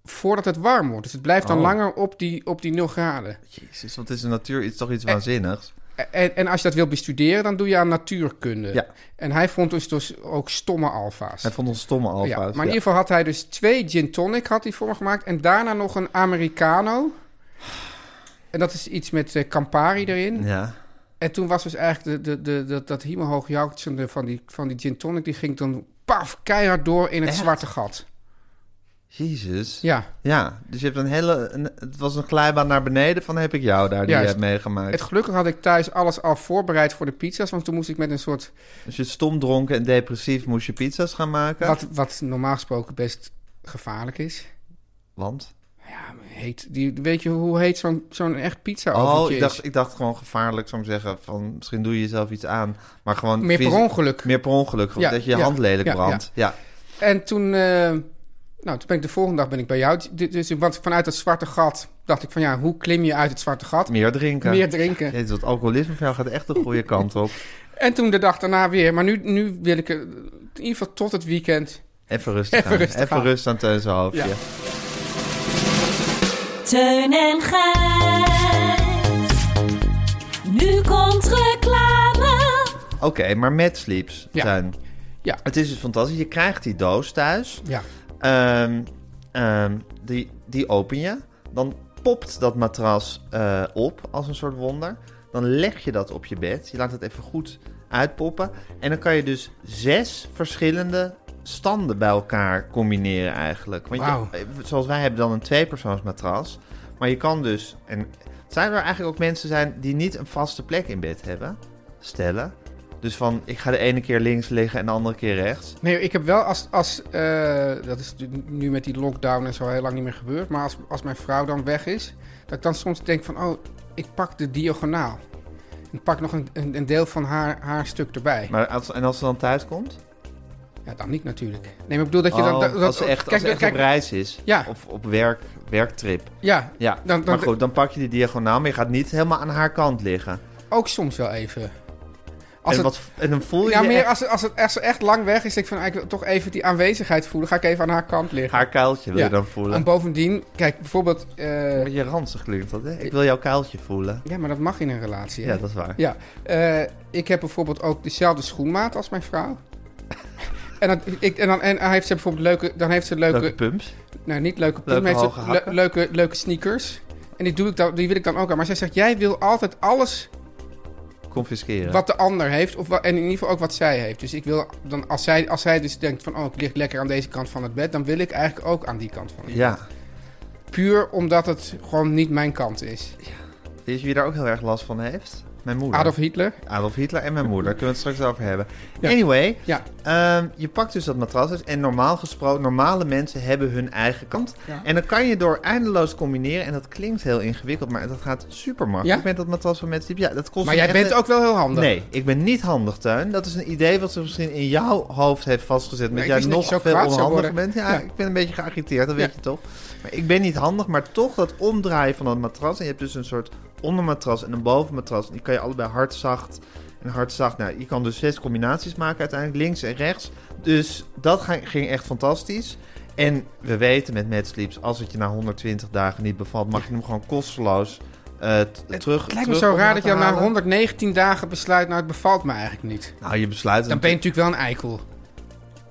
voordat het warm wordt. Dus het blijft dan Oh. langer op die, op die 0 graden. E, Jezus, want het is in de natuur iets, toch iets waanzinnigs. En, en als je dat wil bestuderen, dan doe je aan natuurkunde. Ja. En hij vond dus, dus ook stomme alfa's. Hij vond ons stomme alfa's. Ja, maar in ja. ieder geval had hij dus twee gin tonic had hij voor me gemaakt. En daarna nog een Americano. En dat is iets met eh, Campari erin. Ja. En toen was dus eigenlijk de, de, de, dat, dat hemelhoog jouwtsende van die, van die gin tonic... die ging dan paf, keihard door in het Echt? zwarte gat. Jezus. Ja. Ja, dus je hebt een hele... een- het was een glijbaan naar beneden van heb ik jou daar, die Juist. je hebt meegemaakt. het gelukkig had ik thuis alles al voorbereid voor de pizza's... want toen moest ik met een soort... Dus je stom dronken en depressief moest je pizza's gaan maken. wat, wat normaal gesproken best gevaarlijk is... Want? Ja, heet, die, weet je hoe heet zo'n zo'n echt pizza Oh, oventje ik is? dacht, ik dacht gewoon gevaarlijk, zou ik zeggen. Van, misschien doe je jezelf iets aan. Maar gewoon... Meer fysi- per ongeluk. Meer per ongeluk. Ja, dat je je ja, hand lelijk ja, brandt. Ja. En toen, eh, nou, toen ben ik de volgende dag ben ik bij jou. D- Dus, want vanuit dat zwarte gat dacht ik van ja, hoe klim je uit het zwarte gat? Meer drinken. Meer drinken. Jezus, dat alcoholisme van jou gaat echt de goede kant (laughs) op. En toen de dag daarna weer. Maar nu, nu wil ik eh, in ieder geval tot het weekend. Even rustig Even aan. rustig Even aan. rust aan Teun zijn hoofdje. Ja. Teun en Gijs. Nu komt reclame. Oké, Oké, maar met Sleeps Ja. zijn. Ja. Het is dus fantastisch. Je krijgt die doos thuis. Ja. Ehm, ehm, die, die open je. Dan popt dat matras eh, op als een soort wonder. Dan leg je dat op je bed. Je laat het even goed uitpoppen. En dan kan je dus zes verschillende standen bij elkaar combineren eigenlijk. Want je- Wauw. eh, zoals wij hebben dan een tweepersoonsmatras. Maar je kan dus... En het zijn er eigenlijk ook mensen zijn die niet een vaste plek in bed hebben? Stellen. Dus van, ik ga de ene keer links liggen en de andere keer rechts. Nee, ik heb wel als... als eh, dat is nu- nu met die lockdown en zo heel lang niet meer gebeurd. Maar als, als mijn vrouw dan weg is... Dat ik dan soms denk van... Oh, ik pak de diagonaal. En pak nog een, een, een deel van haar, haar stuk erbij. Maar als, en als ze dan thuis komt? Ja, dan niet natuurlijk. Nee, maar ik bedoel dat je dan... Oh, dat- dat- als ze echt, als ze echt op reis is. Ja. Of op werk, werktrip. ja, Ja. Dan- dan- maar goed, dan pak je die diagonaal, maar je gaat niet helemaal aan haar kant liggen. ook soms wel even. En, Als het, wat, en dan voel je ja, je meer echt als, het, als, het, als ze echt lang weg is, denk ik van, ah, ik wil toch even die aanwezigheid voelen. Ga ik even aan haar kant liggen. haar kuiltje wil Ja. je dan voelen. En bovendien, kijk, bijvoorbeeld... eh, je ranzig klinkt dat, hè? Ik wil jouw kuiltje voelen. ja, maar dat mag in een relatie. hè? Ja, dat is waar. Ja, eh, ik heb bijvoorbeeld ook dezelfde schoenmaat als mijn vrouw. en, dat, ik, en, dan, en hij heeft ze bijvoorbeeld leuke, dan heeft ze leuke, Leuke pumps. nou niet leuke, Leuke maar heeft ze hoge hakken. leuke, leuke sneakers. En die, doe ik dan, die wil ik dan ook aan. Maar zij zegt, jij wil altijd alles Confisceren. wat de ander heeft. Of wa- en in ieder geval ook wat zij heeft. Dus ik wil dan, als zij, als zij dus denkt van, oh, ik lig lekker aan deze kant van het bed. Dan wil ik eigenlijk ook aan die kant van het bed. Ja. Puur omdat het gewoon niet mijn kant is. Weet je wie daar ook heel erg last van heeft? Mijn moeder. Adolf Hitler. Adolf Hitler en mijn moeder. Daar kunnen we het straks over hebben. Ja. Anyway, Ja. ehm, je pakt dus dat matras uit. En normaal gesproken, normale mensen hebben hun eigen kant. Ja. En dan kan je door eindeloos combineren. En dat klinkt heel ingewikkeld, maar dat gaat super makkelijk. Ja? Met dat matras van mensen die... Ja, dat kost Maar een jij echte- bent ook wel heel handig. Nee, ik ben niet handig, Tuin. Dat is een idee wat ze misschien in jouw hoofd heeft vastgezet. Nee, Met ik jij wist dat nog je zo veel kwaad zou onhandiger worden. bent. Ja, Ja. ik ben een beetje geagiteerd, dat Ja. weet je toch. Maar ik ben niet handig, maar toch dat omdraaien van dat matras. En je hebt dus een soort ondermatras en een bovenmatras. En die kan je allebei hard, zacht en hard, zacht. Nou, je kan dus zes combinaties maken uiteindelijk, links en rechts. Dus dat ga- ging echt fantastisch. En we weten met Mad Sleeps, als het je na 120 dagen niet bevalt, mag je hem gewoon kosteloos eh, t- terug. Het lijkt me terug zo omlaag raar dat je dan halen. na 119 dagen besluit, nou het bevalt me eigenlijk niet. Nou, je besluit Dan ben je natuurlijk wel een eikel.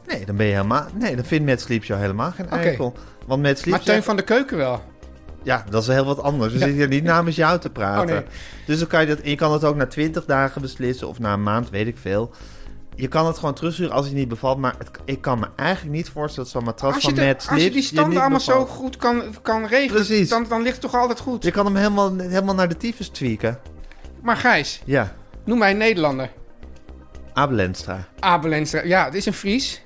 Nee, dan ben je helemaal. Nee, dan vindt Mad Sleeps jou helemaal geen Oké. eikel. Want Mad Sleeps. Maar Teun zegt- van de Keuken wel. Ja, dat is heel wat anders. We zitten hier niet namens jou te praten. Oh, nee. Dus dan kan je dat. En je kan dat ook na 20 dagen beslissen of na een maand, weet ik veel. Je kan het gewoon terugsturen als het je niet bevalt. Maar het- ik kan me eigenlijk niet voorstellen dat zo'n matras Als je, van de- Mad als je Sleeps die standen niet allemaal zo bevalt. goed kan, kan regelen, Precies. dan, dan ligt het toch altijd goed. Je kan hem helemaal, helemaal naar de tyfus tweaken. Maar Gijs, Ja, noem mij een Nederlander. Abelenstra. Abelenstra. Ja, het is een Fries,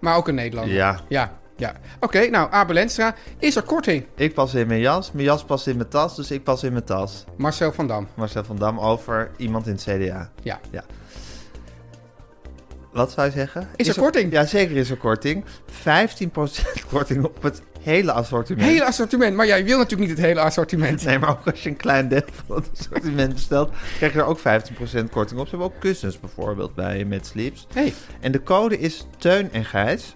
maar ook een Nederlander. Ja, Ja, ja. Oké, nou Abelenstra. Is er korting? ik pas in mijn jas. Mijn jas past in mijn tas, dus ik pas in mijn tas. Marcel van Dam. Marcel van Dam over iemand in het CDA. Ja. Ja. Wat zou je zeggen? Is er korting? Ja, zeker is er korting. 15% (laughs) korting op het hele assortiment. Hele assortiment. Maar jij wil natuurlijk niet het hele assortiment. Nee, maar ook als je een klein deel van het assortiment bestelt, krijg je er ook 15% korting op. Ze hebben ook kussens bijvoorbeeld bij Met Sleeps. Hey, En de code is Teun en Gijs.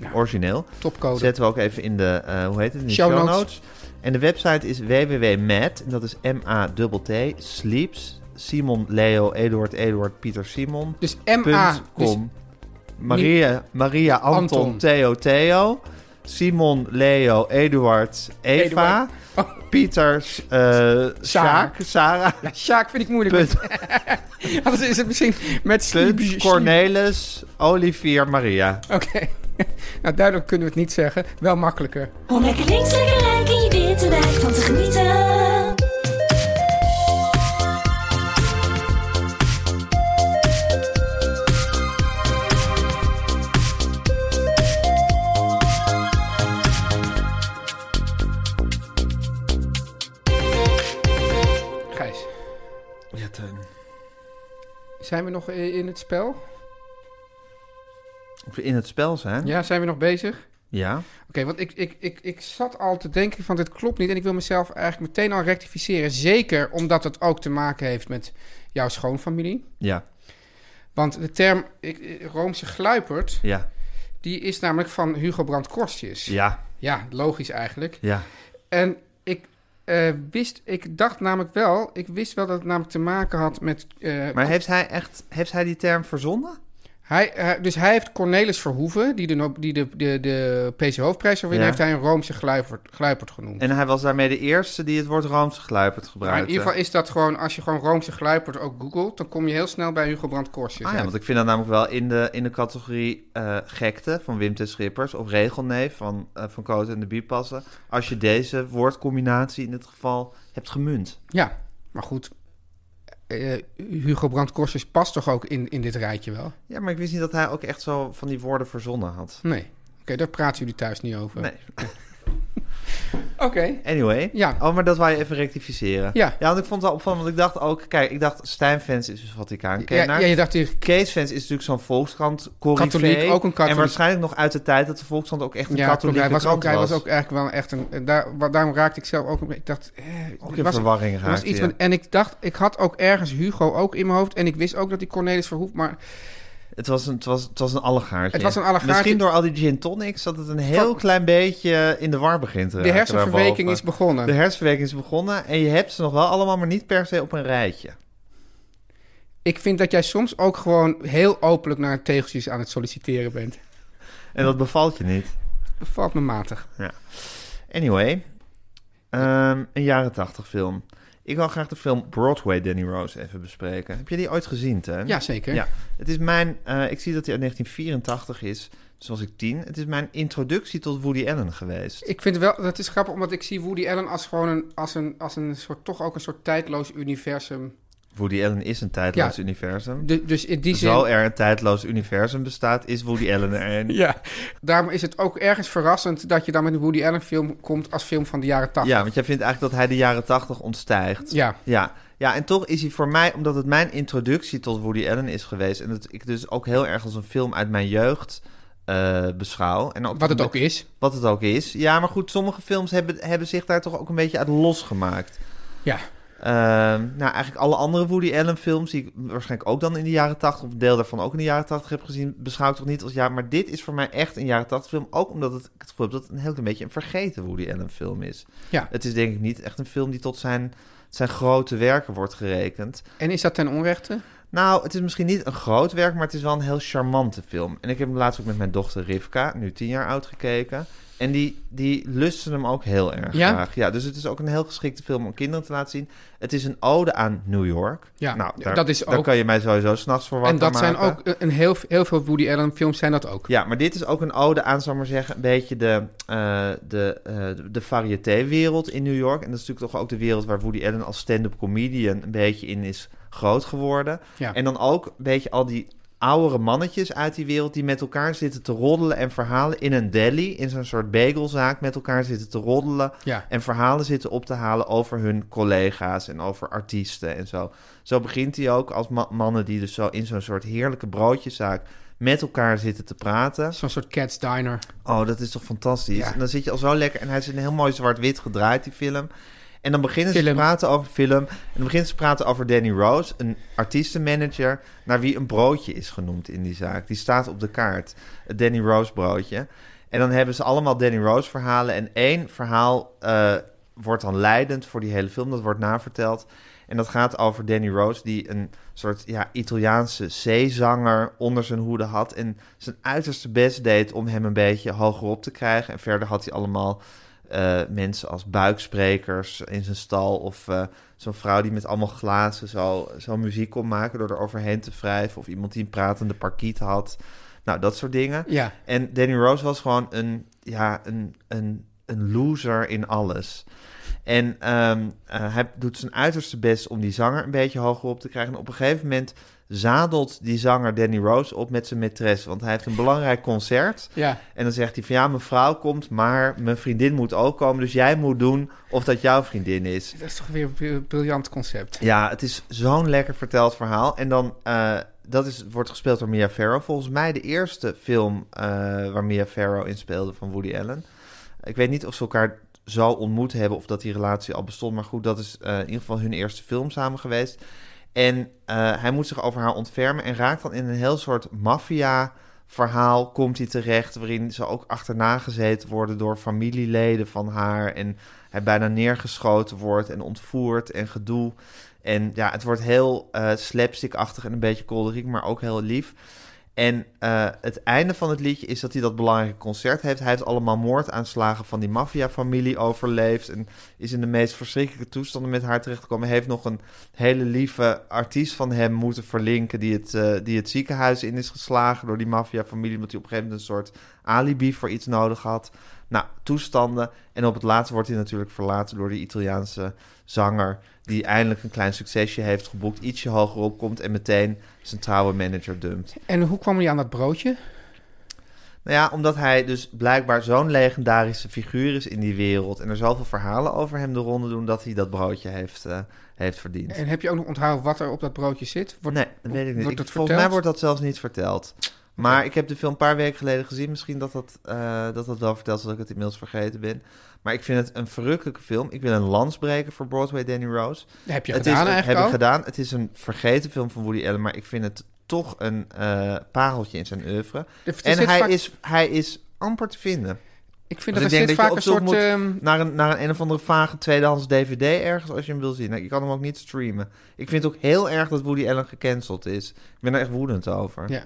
Ja. Origineel. topcode. Zetten we ook even in de, eh, hoe heet het, in de Show show, notes. notes. En de website is www.mat, en dat is M-A-T-T, Sleeps, Simon, Leo, Eduard, Eduard, Pieter, Simon, Dus MA. punt Dus com. Maria, Maria, Anton, Anton. Theo, Theo, Simon, Leo, Eduard, Eva, Oh. Pieter, S- eh Sjaak, Sarah, (laughs) Ja, Sjaak vind ik moeilijk. punt, (laughs) Anders is het misschien met punt, Sleepy Cornelis, Olivier, Maria. Oké. (laughs) nou, duidelijk kunnen we het niet zeggen. Wel makkelijker. Om lekker links, lekker rijk in je witte wijk van te genieten. Gijs, Ja, Teun. zijn we nog i- in het spel? Of we in het spel zijn? Ja, zijn we nog bezig? Oké, Ja. want ik, ik, ik, ik zat al te denken van dit klopt niet. En ik wil mezelf eigenlijk meteen al rectificeren. Zeker omdat het ook te maken heeft met jouw schoonfamilie. Ja. Want de term ik, ik- Roomse gluipert, Ja. die is namelijk van Hugo Brandt Korstjes. Ja. Ja, logisch eigenlijk. Ja. En ik eh, wist, ik dacht namelijk wel, ik wist wel dat het namelijk te maken had met... eh, Maar heeft hij echt, heeft hij die term verzonnen? Hij, hij- dus hij heeft Cornelis Verhoeven, die de, no- die de, de, de PC Hoofdprijs zou winnen, Ja. heeft hij een Roomse gluipert, gluipert genoemd. En hij was daarmee de eerste die het woord Roomse gluiperd maar in gebruikte. ieder geval is dat gewoon, als je gewoon Roomse gluipert ook googelt, dan kom je heel snel bij Hugo Brandt Korsjes. Ah ja, uit. want ik vind dat namelijk wel in de, in de categorie eh, gekte van Wim T. Schippers of regelneef van, eh van Koot en de Biepassen. Als je deze woordcombinatie in dit geval hebt gemunt. Ja, maar goed. eh, Hugo Brandt Korsjes past toch ook in, in dit rijtje wel? Ja, maar ik wist niet dat hij ook echt zo van die woorden verzonnen had. Nee. Oké, daar praten jullie thuis niet over. Nee. Oké. Anyway. Ja. Oh, maar dat wou je even rectificeren. Ja. Ja, want ik vond het wel opvallend, want ik dacht ook... Kijk, ik dacht Stijn-fans is dus Vaticaan. Ja, ja, je dacht hier, Kees-fans is natuurlijk zo'n volkskrant, Katholiek, ook een katholiek. En waarschijnlijk nog uit de tijd dat de volkskrant ook echt een ja, klopt, katholieke hij was, krant ook, hij was ook eigenlijk wel echt een... eh, Daar, wa- daarom raakte ik zelf ook een beetje... Ik dacht, eh, Ook dit in was- verwarring Er was raakte iets je. met, en ik dacht, ik had ook ergens Hugo ook in mijn hoofd. En ik wist ook dat die Cornelis Verhoef. Maar Het was een, het was, het was een allegaartje. Het was een allegaartje. Misschien door al die gin tonics dat het een heel Van- klein beetje in de war begint te de raken hersenverweking daarboven. is begonnen. De hersenverweking is begonnen en je hebt ze nog wel allemaal, maar niet per se op een rijtje. ik vind dat jij soms ook gewoon heel openlijk naar tegeltjes aan het solliciteren bent. En dat bevalt je niet. Bevalt me matig. Anyway, ehm, een jaren tachtig film. Ik wil graag de film Broadway Danny Rose even bespreken. Heb je die ooit gezien, Teun? Ja, zeker. Ja, het is mijn. eh, ik zie dat hij uit 1984 is, dus was ik tien. Het is mijn introductie tot Woody Allen geweest. Ik vind wel, dat is grappig, omdat ik zie Woody Allen als gewoon een, als een, als een soort, toch ook een soort tijdloos universum. Woody Allen is een tijdloos Ja. universum. Du- dus in die zin. Zo er een tijdloos universum bestaat, is Woody Allen er een. Ja. Daarom is het ook ergens verrassend dat je dan met een Woody Allen film komt als film van de jaren 80. Ja, want jij vindt eigenlijk dat hij de jaren 80 ontstijgt. Ja. Ja. ja, en toch is hij voor mij, omdat het mijn introductie tot Woody Allen is geweest... en dat ik dus ook heel erg als een film uit mijn jeugd eh, beschouw. En Wat het ook is. Wat het ook is. Ja, maar goed, sommige films hebben, hebben zich daar toch ook een beetje uit losgemaakt. Ja. Ehm, nou, eigenlijk alle andere Woody Allen films... die ik waarschijnlijk ook dan in de jaren 80... of een deel daarvan ook in de jaren 80 heb gezien... beschouw ik toch niet als ja... maar dit is voor mij echt een jaren 80 film... ook omdat het, ik het gevoel heb dat het een heel klein beetje... een vergeten Woody Allen film is. Ja. Het is denk ik niet echt een film die tot zijn, zijn grote werken wordt gerekend. En is dat ten onrechte? Nou, het is misschien niet een groot werk, maar het is wel een heel charmante film. En ik heb hem laatst ook met mijn dochter Rivka, nu tien jaar oud, gekeken. En die, die lusten hem ook heel erg Ja? graag. Ja, dus het is ook een heel geschikte film om kinderen te laten zien. Het is een ode aan New York. Ja, nou, daar, dat is Daar ook- kan je mij sowieso s'nachts voor wakker En dat maken. zijn ook een heel, heel veel Woody Allen films zijn dat ook. Ja, maar dit is ook een ode aan, zal ik maar zeggen, een beetje de, eh, de, eh, de variété-wereld in New York. En dat is natuurlijk toch ook de wereld waar Woody Allen als stand-up comedian een beetje in is groot geworden. Ja. En dan ook een beetje al die oudere mannetjes uit die wereld die met elkaar zitten te roddelen en verhalen in een deli, in zo'n soort bagelzaak, met elkaar zitten te roddelen Ja. en verhalen zitten op te halen over hun collega's en over artiesten en zo. Zo begint hij ook als ma- mannen die dus zo in zo'n soort heerlijke broodjeszaak met elkaar zitten te praten. Zo'n soort Cats Diner. Oh, dat is toch fantastisch. Ja. En dan zit je al zo lekker. En hij is in een heel mooi zwart-wit gedraaid, die film. En dan beginnen ze Film. te praten over film. En dan beginnen ze te praten over Danny Rose, een artiestenmanager... naar wie een broodje is genoemd in die zaak. Die staat op de kaart, het Danny Rose broodje. En dan hebben ze allemaal Danny Rose verhalen. En één verhaal eh, wordt dan leidend voor die hele film. Dat wordt naverteld. En dat gaat over Danny Rose, die een soort ja, Italiaanse zeezanger onder zijn hoede had. En zijn uiterste best deed om hem een beetje hoger op te krijgen. En verder had hij allemaal eh, mensen als buiksprekers in zijn stal. Of eh, zo'n vrouw die met allemaal glazen zo, zo muziek kon maken door er overheen te wrijven. Of iemand die een pratende parkiet had. Nou, dat soort dingen. Ja. En Danny Rose was gewoon een, ja, een, een, een loser in alles. En ehm, eh, hij doet zijn uiterste best om die zanger een beetje hoger op te krijgen. En op een gegeven moment zadelt die zanger Danny Rose op met zijn maîtresse. Want hij heeft een belangrijk concert. Ja. En dan zegt hij van ja, mijn vrouw komt, maar mijn vriendin moet ook komen. Dus jij moet doen of dat jouw vriendin is. Dat is toch weer een bril- briljant concept. Ja, het is zo'n lekker verteld verhaal. En dan, eh, dat is, wordt gespeeld door Mia Farrow. Volgens mij de eerste film eh, waar Mia Farrow in speelde van Woody Allen. Ik weet niet of ze elkaar zo ontmoet hebben of dat die relatie al bestond. Maar goed, dat is eh, in ieder geval hun eerste film samen geweest. En eh, hij moet zich over haar ontfermen en raakt dan in een heel soort maffia verhaal komt hij terecht waarin ze ook achterna gezeten worden door familieleden van haar en hij bijna neergeschoten wordt en ontvoerd en gedoe. En ja, het wordt heel eh slapstickachtig en een beetje kolderiek, maar ook heel lief. En eh, het einde van het liedje is dat hij dat belangrijke concert heeft. Hij heeft allemaal moordaanslagen van die maffiafamilie overleefd. En is in de meest verschrikkelijke toestanden met haar terechtgekomen. Heeft nog een hele lieve artiest van hem moeten verlinken. Die het, eh, die het ziekenhuis in is geslagen door die maffiafamilie. Omdat hij op een gegeven moment een soort alibi voor iets nodig had. Nou, toestanden. En op het laatst wordt hij natuurlijk verlaten door die Italiaanse zanger. Die eindelijk een klein succesje heeft geboekt. Ietsje hoger opkomt en meteen zijn trouwe manager dumpt. En hoe kwam hij aan dat broodje? Nou ja, omdat hij dus blijkbaar zo'n legendarische figuur is in die wereld. En er zoveel verhalen over hem de ronde doen dat hij dat broodje heeft, eh, heeft verdiend. En heb je ook nog onthouden wat er op dat broodje zit? Wordt- nee, dat weet ik niet. wordt Ik- dat volgens verteld? mij wordt dat zelfs niet verteld. Maar ik heb de film een paar weken geleden gezien. Misschien dat dat, eh, dat, dat wel verteld is, dat ik het inmiddels vergeten ben. Maar ik vind het een verrukkelijke film. Ik wil een lans breken voor Broadway Danny Rose. Dat heb je het gedaan is, eigenlijk heb al? ik gedaan. Het is een vergeten film van Woody Allen, maar ik vind het toch een eh pareltje in zijn oeuvre. Er- er En zit hij, vaak- is, hij is amper te vinden. Ik vind Dus dat ik er denk zit dat je vaak een op zoek soort... moet ehm, Naar een, naar een een of andere vage tweedehands DVD ergens als je hem wil zien. Nou, Je kan hem ook niet streamen. Ik vind het ook heel erg dat Woody Allen gecanceld is. Ik ben er echt woedend over. ehm, ja.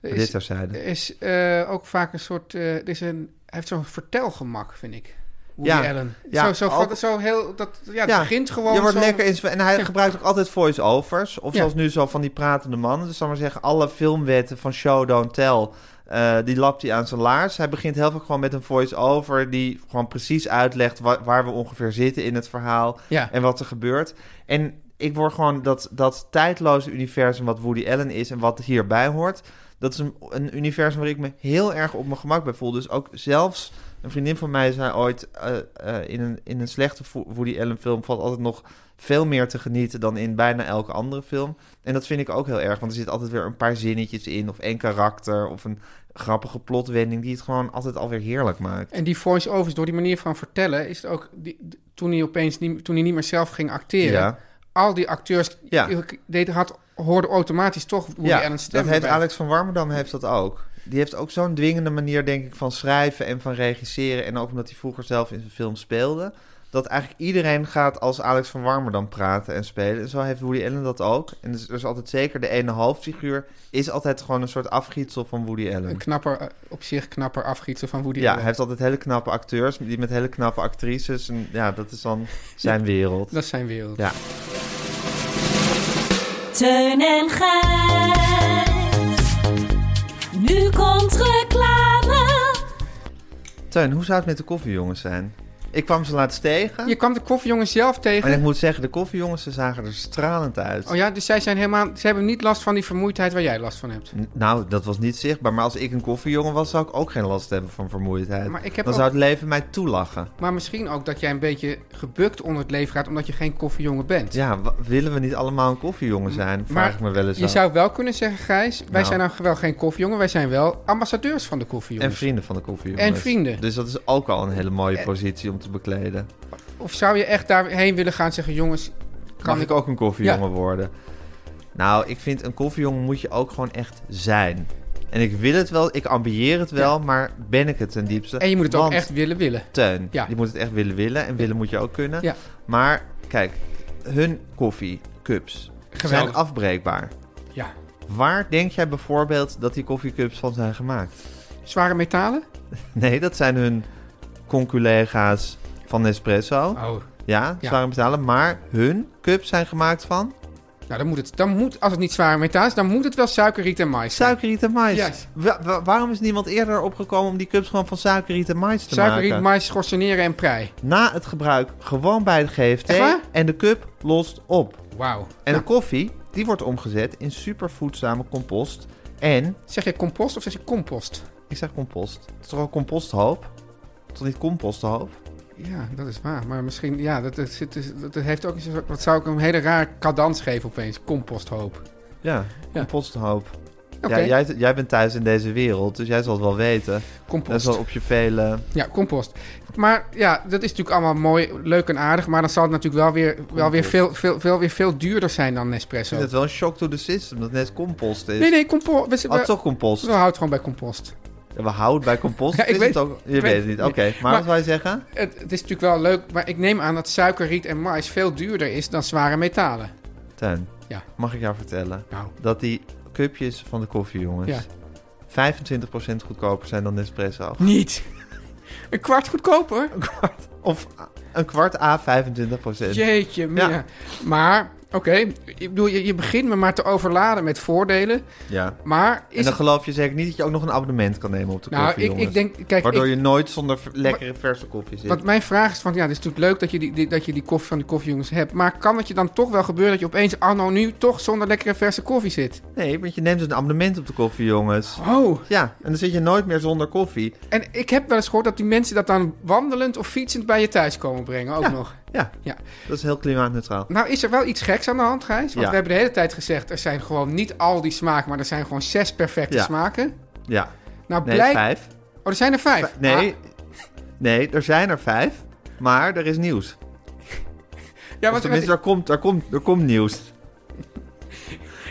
Er Dit is, terzijde. er is eh, ook vaak een soort... eh, er is een, hij heeft zo'n vertelgemak, vind ik. Woody Ja. Allen. Ja, zo, zo, van- ook- zo heel... Dat, ja, het Ja, begint gewoon Je wordt zo... lekker in. En hij gebruikt ook altijd voice-overs. Of Ja. zoals nu zo van die pratende mannen. Dus zal ik maar zeggen, alle filmwetten van Show Don't Tell. eh, die lapt hij aan zijn laars. Hij begint heel vaak gewoon met een voice-over. die gewoon precies uitlegt wa- waar we ongeveer zitten in het verhaal. Ja. en wat er gebeurt. En ik word gewoon dat, dat tijdloze universum wat Woody Allen is en wat hierbij hoort. Dat is een, een universum waar ik me heel erg op mijn gemak bij voel. Dus ook zelfs een vriendin van mij zei ooit... eh, eh, in, een, in een slechte Vo- Woody Allen film valt altijd nog veel meer te genieten... dan in bijna elke andere film. En dat vind ik ook heel erg. Want er zit altijd weer een paar zinnetjes in... of één karakter of een grappige plotwending... die het gewoon altijd alweer heerlijk maakt. En die voice-overs, door die manier van vertellen... is het ook... Die, d- toen hij opeens niet, toen hij niet meer zelf ging acteren... Ja. al die acteurs... Ja. die- deed, had, hoorden automatisch toch Woody ja, Allen's stem. dat heeft erbij. Alex van Warmerdam heeft dat ook. Die heeft ook zo'n dwingende manier, denk ik, van schrijven en van regisseren. En ook omdat hij vroeger zelf in zijn film speelde. Dat eigenlijk iedereen gaat als Alex van Warmerdam praten en spelen. En zo heeft Woody Allen dat ook. En dus er is altijd zeker de ene hoofdfiguur... is altijd gewoon een soort afgietsel van Woody Een Allen. knapper, eh, op zich knapper afgietsen van Woody Ja, hij Allen. heeft altijd hele knappe acteurs... die met hele knappe actrices. En ja, dat is dan (laughs) zijn wereld. Dat is zijn wereld. Ja. Teun en Gijs. Nu komt reclame. Teun, hoe zou het met de koffiejongens zijn? Ik kwam ze laatst tegen... Je kwam de koffiejongen zelf tegen. En ik moet zeggen, de koffiejongens ze zagen er stralend uit. Oh ja, dus zij zijn helemaal... Ze hebben niet last van die vermoeidheid waar jij last van hebt. N- Nou, dat was niet zichtbaar. Maar als ik een koffiejongen was, zou ik ook geen last hebben van vermoeidheid. Maar ik heb Dan ook- zou het leven mij toelachen. Maar misschien ook dat jij een beetje gebukt onder het leven gaat... omdat je geen koffiejongen bent. Ja, wa- willen we niet allemaal een koffiejongen zijn? Vraag Maar ik me wel eens Je af. zou wel kunnen zeggen, Gijs... wij Nou. zijn nou wel geen koffiejongen, wij zijn wel ambassadeurs van de koffiejongen. En vrienden van de koffiejongens. En vrienden. Dus dat is ook al een hele mooie positie om te bekleden. Of zou je echt daarheen willen gaan en zeggen... jongens, Kan kan ik ook een koffiejongen worden? Nou, ik vind een koffiejongen moet je ook gewoon echt zijn. En ik wil het wel, ik ambieer het wel, maar ben ik het ten diepste? En je moet het Want ook echt willen willen. Teun. Ja. Je moet het echt willen willen. En willen moet je ook kunnen. Ja. Maar kijk, hun koffiecups Geweldig. zijn afbreekbaar. Ja. Waar denk jij bijvoorbeeld dat die koffiecups van zijn gemaakt? Zware metalen? Nee, dat zijn hun conculega's van Nespresso. Oh. Ja, Ja. zware betalen. Maar hun cups zijn gemaakt van Nou, dan moet het... Dan moet, als het niet zware metaal is, dan moet het wel suikerriet en mais zijn. suikerriet en mais. Juist. Wa- wa- waarom is niemand eerder opgekomen om die cups gewoon van suikerriet en mais te Suikerriet, maken? mais, schorseneren en prei. Na het gebruik gewoon bij de Echt GFT waar? en de cup lost op. Wauw. Nou, En de koffie, die wordt omgezet in supervoedzame compost. En, Zeg je compost of zeg je compost? ik zeg compost, het is toch ook composthoop? Het is toch niet composthoop? Ja, dat is waar. Maar misschien, ja, dat, dat, zit dus- dat, dat heeft ook een soort- Dat zou ik een hele raar cadans geven opeens. Composthoop. Ja, Ja. composthoop. Oké, Ja, jij, jij bent thuis in deze wereld, dus jij zal het wel weten. Dat is compost. wel op je vele... Ja, compost. Maar ja, dat is natuurlijk allemaal mooi, leuk en aardig. Maar dan zal het natuurlijk wel weer, wel weer, veel, veel, veel, weer veel duurder zijn dan Ik Nespresso. vind het wel een shock to the system dat het net compost is. Nee, nee, compost. We, we, Oh, toch compost? we houden het gewoon bij compost. we hout bij (laughs) compost. Ja, ik is weet- het ook, je ik weet weet- het niet. Oké, maar, Maar- wat wil je zeggen? Het, het is natuurlijk wel leuk, maar ik neem aan dat suikerriet en mais veel duurder is dan zware metalen. Tuin, Ja. mag ik jou vertellen Nou, dat die cupjes van de koffie, ja. jongens, 25% goedkoper zijn dan Nespresso. Niet. (laughs) Een kwart goedkoper? Of een kwart A 25%. Jeetje, Mina. Ja. Maar, oké, ik bedoel, je, je begint me maar te overladen met voordelen. Ja. Maar en is dan het... geloof je zeker niet dat je ook nog een abonnement kan nemen op de Nou, koffie, ik, jongens. ik denk... Kijk, Waardoor ik- je nooit zonder v- lekkere verse koffie zit. want mijn vraag is van, ja, het is natuurlijk leuk dat je die, die- dat je die koffie van de koffiejongens hebt. Maar kan het je dan toch wel gebeuren dat je opeens anno nu toch zonder lekkere verse koffie zit? Nee, want je neemt dus een abonnement op de koffie, jongens. Oh, Ja, en dan zit je nooit meer zonder koffie. en ik heb wel eens gehoord dat die mensen dat dan wandelend of fietsend bij je thuis komen brengen ook Ja. nog. Ja, Ja. dat is heel klimaatneutraal. Nou is er wel iets geks aan de hand, Gijs. Want Ja. we hebben de hele tijd gezegd, er zijn gewoon niet al die smaken, maar er zijn gewoon zes perfecte Ja. smaken. Ja, Nou nee, blijkt... vijf. Oh, er zijn er vijf. Nee, Ah, nee, er zijn er vijf, maar er is nieuws. ja, Of want tenminste, er komt, er, komt, er komt nieuws.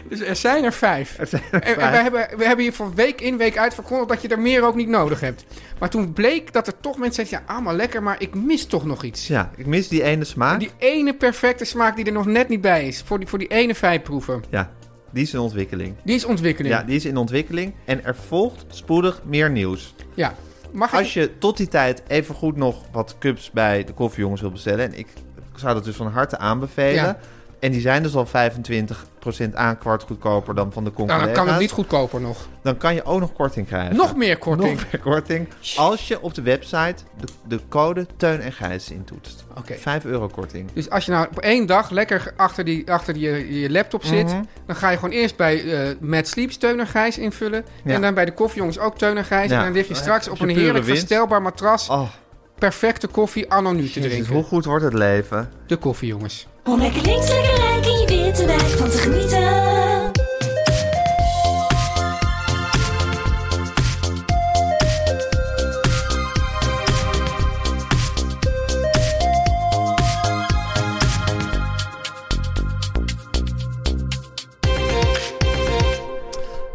dus er zijn er vijf. Er zijn En, er en vijf. wij hebben, we hebben hier van week in, week uit verkondigd dat je er meer ook niet nodig hebt. Maar toen bleek dat er toch mensen zeiden, ja, allemaal lekker, maar ik mis toch nog iets. Ja, ik mis die ene smaak. Die ene perfecte smaak die er nog net niet bij is, voor die, voor die ene vijfproever. Ja, die is in ontwikkeling. Die is ontwikkeling. Ja, die is in ontwikkeling en er volgt spoedig meer nieuws. Ja. Mag ik... Als je tot die tijd even goed nog wat cups bij de koffiejongens wil bestellen... en ik zou dat dus van harte aanbevelen... Ja. en die zijn dus al 25% aan kwart goedkoper dan van de Nou, concurrentie. dan kan het niet goedkoper nog. Dan kan je ook nog korting krijgen. Nog meer korting. Nog meer (laughs) korting. Als je op de website de, de code Teun en Gijs intoetst. Oké. 5 euro korting. Dus als je nou op één dag lekker achter, die, achter die, je, je laptop zit, Mhm. dan ga je gewoon eerst bij eh Mad Sleeps Teuner Gijs invullen. Ja. En dan bij de koffiejongens ook Teuner Gijs. Oh, Ja. En dan lig je straks op je een pure heerlijk winst. verstelbaar matras Oh, perfecte koffie anno nu te jezus, drinken. hoe goed wordt het leven? De koffiejongens. Om lekker links, lekker rijk in je witte wijk van te genieten.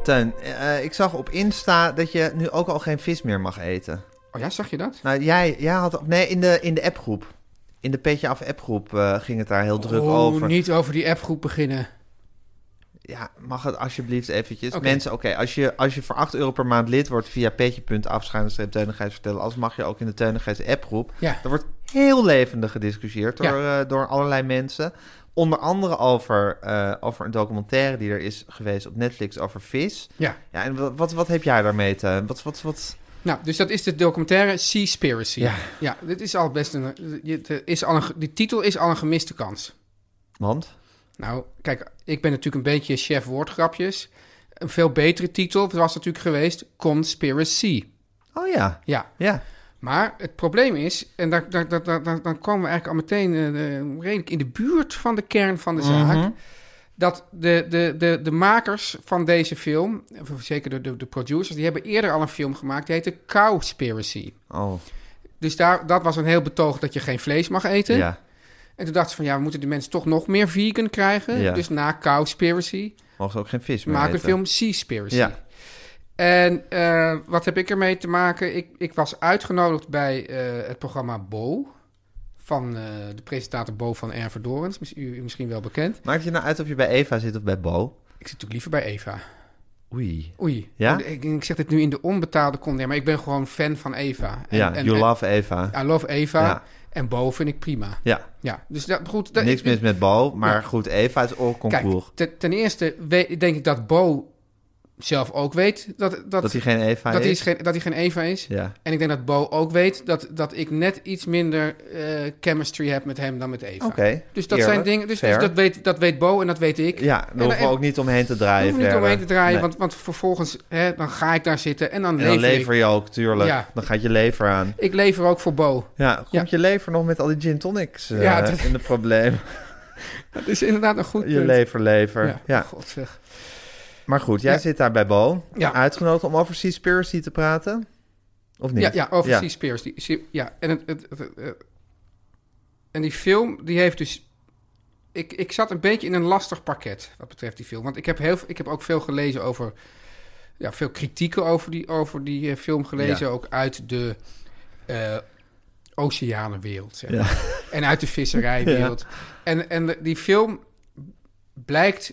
Teun, eh, ik zag op Insta dat je nu ook al geen vis meer mag eten. Oh ja, zag je dat? Nou, jij, jij had... Nee, in de, in de appgroep. In de Petje Af appgroep eh, ging het daar heel druk oh, over. niet over die appgroep beginnen. Ja, mag het alsjeblieft eventjes. Oké. Mensen, oké, als, je, als je voor 8 euro per maand lid wordt via petje.afschuinenstreepteunigheids vertellen, als mag je ook in de Teunigheids appgroep. Ja. Er wordt heel levendig gediscussieerd door, eh, door allerlei mensen. Onder andere over, eh, over een documentaire die er is geweest op Netflix over vis. Ja. Ja, en wat, wat, wat heb jij daarmee, Teun? Wat, wat, wat? Nou, dus dat is de documentaire Seaspiracy. Ja. Ja, dit is al best een... je- het Is al een ge- die titel is al een gemiste kans. Want? Nou, kijk, ik ben natuurlijk een beetje chef woordgrapjes. Een veel betere titel was natuurlijk geweest Conspiracy. Oh ja, Ja, ja. maar het probleem is, en daar, daar, daar, daar, daar- dan komen we eigenlijk al meteen eh, eh, redelijk in de buurt van de kern van de zaak. Mhm. Dat de, de, de, de makers van deze film, of zeker de, de, de producers, die hebben eerder al een film gemaakt, die heette Cowspiracy. Oh, Dus daar, dat was een heel betoog dat je geen vlees mag eten. ja. En toen dachten ze van ja, we moeten de mensen toch nog meer vegan krijgen. Ja. Dus na Cowspiracy Mogen ze ook geen vis meer maak een eten? film Seaspiracy. Ja. En eh, wat heb ik ermee te maken? Ik, ik was uitgenodigd bij eh, het programma Bo. Van eh, de presentator Bo van Erver Dorens. Miss- U, u misschien wel bekend. Maakt je nou uit of je bij Eva zit of bij Bo? Ik zit natuurlijk liever bij Eva. Oei. Oei. Oh, Ja? Ik, ik zeg dit nu in de onbetaalde context. Maar ik ben gewoon fan van Eva. En- ja, en- you en- love Eva. Ja. I love Eva. Ja. En Bo vind ik prima. Ja. Dus dat, goed. dat- Niks ik- mis met Bo, maar Ja. goed, Eva is ook Kijk, concours. ten, ten eerste weet- denk ik dat Bo zelf ook weet dat, dat, dat hij geen Eva dat hij is? is geen, dat hij geen Eva is. Ja. En ik denk dat Bo ook weet dat, dat ik net iets minder eh, chemistry heb met hem dan met Eva. Oké. Dus dat eerlijk, zijn dingen. Dus, dus fair. dat, weet, dat weet Bo en dat weet ik. Ja, daar dan- hoeven we en- ook niet omheen Daar te draaien. hoef ik niet verder. omheen te draaien, Nee. want, want vervolgens hè, dan ga ik daar zitten en dan, En dan lever, lever je ook, tuurlijk. Ja. Dan gaat je lever aan. ik. Ik lever ook voor Bo. Ja, komt Ja. je lever nog met al die gin tonics eh, Ja, dat- in de probleem? (laughs) Dat is inderdaad een goed je punt. leverlever. Ja. Ja, God zeg. Maar goed, jij Ja. zit daar bij Bo. Ja. Uitgenodigd om over Seaspiracy te praten? Of niet? Ja, ja over Sea Spears. Die, die- ja, en, het, het, het- het- eh, en die film, die heeft dus... Ik, ik zat een beetje in een lastig pakket wat betreft die film. Want ik heb, heel, veel- ik heb ook veel gelezen over ja, veel kritieken over die, over die eh, film gelezen. Ook uit de eh, oceanenwereld, zeg maar. En uit de visserijwereld. (laughs) En, en de- die film blijkt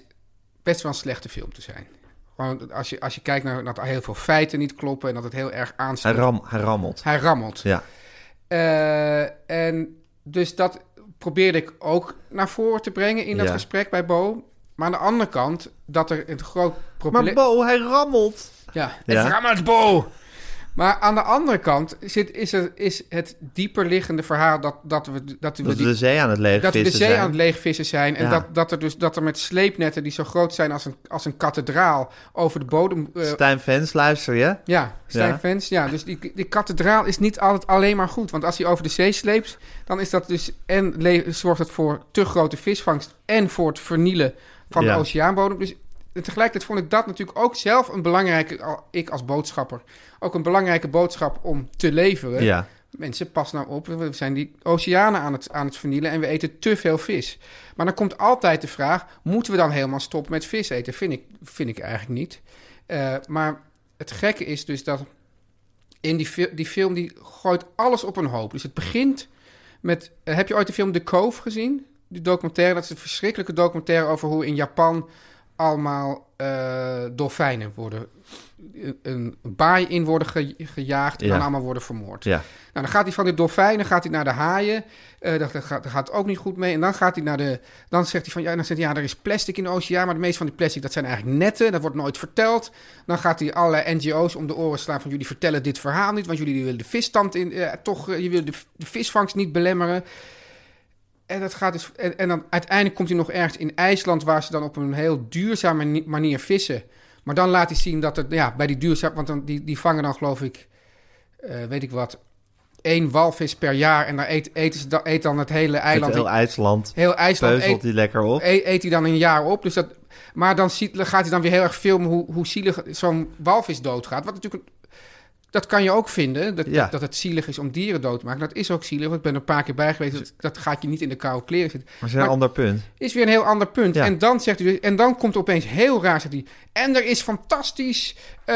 best wel een slechte film te zijn. Gewoon als je, als je kijkt naar dat heel veel feiten niet kloppen... en dat het heel erg Hij, aanstaat. ram, hij rammelt. Hij rammelt. Ja. Eh, en dus dat probeerde ik ook naar voren te brengen in dat Ja. gesprek bij Bo. Maar aan de andere kant, dat er een groot probleem... Maar Bo, hij rammelt. Ja, Ja. het rammelt Bo! Maar aan de andere kant zit, is, er, is het dieperliggende verhaal dat, dat we, dat we, Dat we die- de zee aan het leeg dat we de vissen zee zijn. aan het leegvissen zijn. En Ja. dat, dat, er dus, dat er met sleepnetten die zo groot zijn als een, als een kathedraal over de bodem... eh, Stijn Fans, luister je? ja, Stijn Ja. Fans. Ja, dus die, die kathedraal is niet altijd alleen maar goed. Want als hij over de zee sleept, dan is dat dus... En le- zorgt het voor te grote visvangst en voor het vernielen van Ja. de oceaanbodem. Dus en tegelijkertijd vond ik dat natuurlijk ook zelf een belangrijke... al- Ik als boodschapper, ook een belangrijke boodschap om te leveren. Ja. Mensen, pas nou op, we zijn die oceanen aan het, aan het vernielen en we eten te veel vis. Maar dan komt altijd de vraag, moeten we dan helemaal stoppen met vis eten? Vind ik, vind ik eigenlijk niet. Eh, maar het gekke is dus dat in die, fil- die film, die gooit alles op een hoop. Dus het begint met, eh, heb je ooit de film The Cove gezien? Die documentaire, dat is een verschrikkelijke documentaire over hoe in Japan allemaal eh, dolfijnen worden, een- een baai in worden ge- gejaagd en Ja. dan allemaal worden vermoord. Ja. Nou, dan gaat hij van de dolfijnen gaat hij naar de haaien. Eh dat, dat gaat, dat gaat ook niet goed mee. En dan gaat hij naar de. Dan zegt hij van ja, dan zegt hij, ja, er is plastic in de oceaan. Maar de meeste van die plastic, dat zijn eigenlijk netten. Dat wordt nooit verteld. Dan gaat hij allerlei NGO's om de oren slaan van jullie vertellen dit verhaal niet. Want jullie willen de visstand in. eh, toch, eh, je wil de, de visvangst niet belemmeren. En, dat gaat dus, en, en dan uiteindelijk komt hij nog ergens in IJsland, waar ze dan op een heel duurzame ni- manier vissen. Maar dan laat hij zien dat er, ja, bij die duurzaam, want dan, die, die vangen dan geloof ik, eh, weet ik wat, één walvis per jaar. En dan eet, eten ze, dan, eet dan het hele eiland. Met heel IJsland. heel IJsland Peuzelt eet, die lekker op. e- eet hij dan een jaar op. Dus dat, maar dan ziet, gaat hij dan weer heel erg filmen hoe, hoe zielig zo'n walvis doodgaat. Wat natuurlijk, een- dat kan je ook vinden, dat, Ja. dat het zielig is om dieren dood te maken. Dat is ook zielig, want ik ben er een paar keer bij geweest. Dat, dat gaat je niet in de koude kleren zitten. Maar ze zijn Maar- een ander punt. Is weer een heel ander punt. Ja. En, dan zegt hij, dus- en dan komt er opeens heel raar, zegt hij. En er is fantastisch, eh,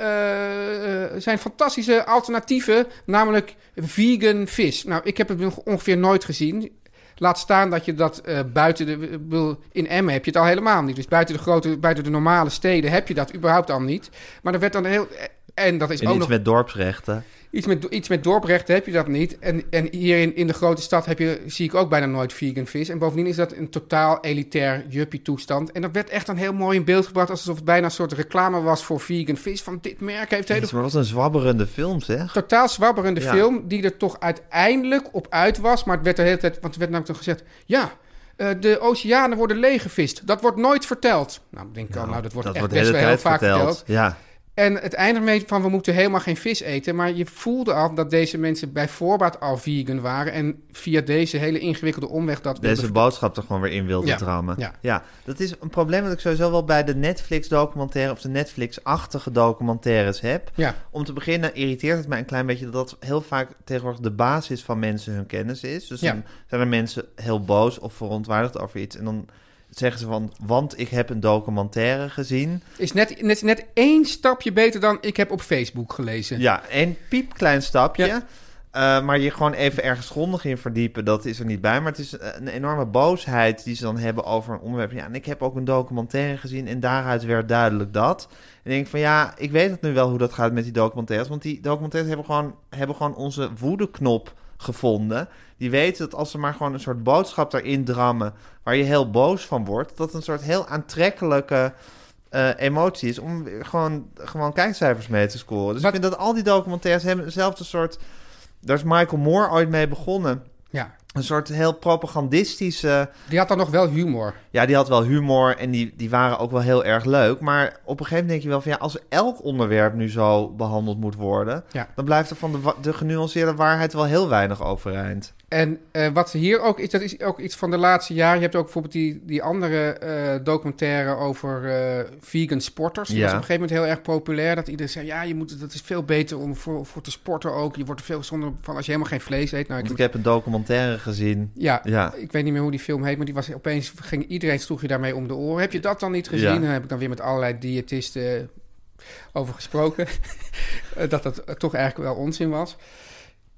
eh, eh, zijn fantastische alternatieven, namelijk vegan vis. Nou, ik heb het nog ongeveer nooit gezien. Laat staan dat je dat eh, buiten de. ik bedoel, In Emmen heb je het al helemaal niet. Dus buiten de grote, buiten de normale steden heb je dat überhaupt al niet. Maar er werd dan heel. En dat is En ook iets nog met dorpsrechten. Iets met, iets met dorprechten heb je dat niet. En, en hier in, in de grote stad heb je, zie ik ook bijna nooit vegan vis. En bovendien is dat een totaal elitair juppie toestand. En dat werd echt dan heel mooi in beeld gebracht... alsof het bijna een soort reclame was voor vegan vis. Van dit merk heeft hele... Jezus, maar wat een zwabberende film, zeg. Totaal zwabberende Ja. film die er toch uiteindelijk op uit was. Maar het werd de hele tijd... Want er werd namelijk dan gezegd... Ja, eh, de oceanen worden leeggevist. Dat wordt nooit verteld. Nou, dan denk ik al, nou, dat wordt dat echt wordt de best hele wel heel tijd vaak verteld. verteld. Ja. En het eindigt mee van we moeten helemaal geen vis eten. Maar je voelde al dat deze mensen bij voorbaat al vegan waren. En via deze hele ingewikkelde omweg dat wilden Deze ver- boodschap er gewoon weer in wilde Ja, drammen. ja. dat is een probleem dat ik sowieso wel bij de Netflix-documentaire... of de Netflix-achtige documentaires heb. Ja, Om te beginnen irriteert het mij een klein beetje... dat dat heel vaak tegenwoordig de basis van mensen hun kennis is. Dus Ja. dan zijn er mensen heel boos of verontwaardigd over iets... en dan zeggen ze van, want ik heb een documentaire gezien... is net, net, net één stapje beter dan ik heb op Facebook gelezen. Ja, een piepklein stapje. Ja. Eh, maar je gewoon even ergens grondig in verdiepen, dat is er niet bij. Maar het is een enorme boosheid die ze dan hebben over een onderwerp. Ja, en ik heb ook een documentaire gezien en daaruit werd duidelijk dat. En ik denk van ja, ik weet het nu wel hoe dat gaat met die documentaires. Want die documentaires hebben gewoon, hebben gewoon onze woedeknop gevonden. Die weten dat als ze maar gewoon een soort boodschap erin drammen... waar je heel boos van wordt, dat een soort heel aantrekkelijke eh, emotie is... om gewoon, gewoon kijkcijfers mee te scoren. Dus Wat- ik vind dat al die documentaires hebben hetzelfde soort... Daar is Michael Moore ooit mee begonnen. Ja. Een soort heel propagandistische... Die had dan nog wel humor. Ja, die had wel humor en die, die waren ook wel heel erg leuk. Maar op een gegeven moment denk je wel van... ja, als elk onderwerp nu zo behandeld moet worden... Ja. dan blijft er van de, wa- de genuanceerde waarheid wel heel weinig overeind. En eh, wat hier ook is, dat is ook iets van de laatste jaren. Je hebt ook bijvoorbeeld die, die andere eh, documentaire over eh, vegan sporters. Die Ja. was op een gegeven moment heel erg populair. Dat iedereen zei, ja, je moet, dat is veel beter om voor, voor te sporten ook. Je wordt er veel zonder van als je helemaal geen vlees eet. Nou, Want ik, ik heb een documentaire gezien. ja, Ja. ik weet niet meer hoe die film heet, maar die was opeens ging iedereen sloeg je daarmee om de oren. Heb je dat dan niet gezien? Ja. Dan heb ik dan weer met allerlei diëtisten eh, over gesproken. (laughs) Eh, dat dat toch eigenlijk wel onzin was.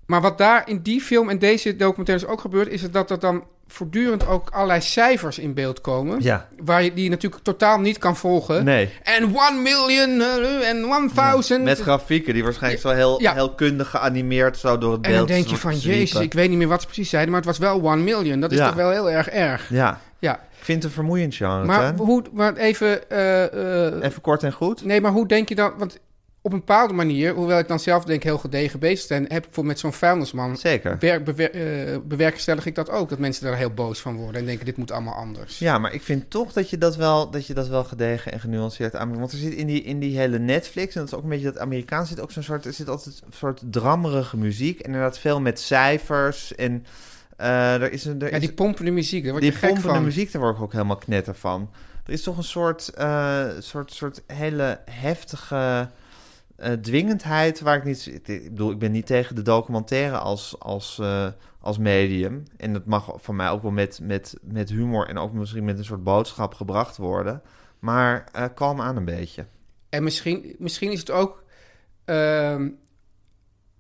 Maar wat daar in die film en deze documentaires ook gebeurt, is het dat er dan voortdurend ook allerlei cijfers in beeld komen. Ja. Waar je die je natuurlijk totaal niet kan volgen. Eh? Nee. En 1 million eh, en 1000. Met grafieken die waarschijnlijk zo heel, Eh, Ja. heel kundig geanimeerd zo door het en beeld. dan denk je soort van, zwiepen. jezus, ik weet niet meer wat ze precies zeiden, maar het was wel 1 million. Dat is Ja. toch wel heel erg erg. Ja, Ja. ik vind het een vermoeiend genre. Maar, Teun. hoe, maar even, eh, eh, Even kort en goed. Nee, maar hoe denk je dan... Want op een bepaalde manier, hoewel ik dan zelf denk ik heel gedegen bezig ben... heb ik bijvoorbeeld met zo'n vuilnisman... Zeker. Ber, bewer, eh, bewerkstellig ik dat ook. Dat mensen daar heel boos van worden en denken dit moet allemaal anders. Ja, maar ik vind toch dat je dat wel, dat je dat wel gedegen en genuanceerd aanbrengt. Want er zit in die, in die hele Netflix, en dat is ook een beetje dat Amerikaans, zit ook zo'n soort, er zit altijd een soort drammerige muziek. En inderdaad veel met cijfers. En eh, er is een, er Ja, is die pompende muziek, daar word die je gek pompende van. muziek, daar word ik ook helemaal knetter van. Er is toch een soort, eh, soort, soort hele heftige eh, dwingendheid waar ik niet... Ik bedoel, ik ben niet tegen de documentaire als, als, eh, als medium. En dat mag van mij ook wel met, met, met humor en ook misschien met een soort boodschap gebracht worden. Maar eh, kalm aan een beetje. Nou, En misschien, misschien is het ook... ehm,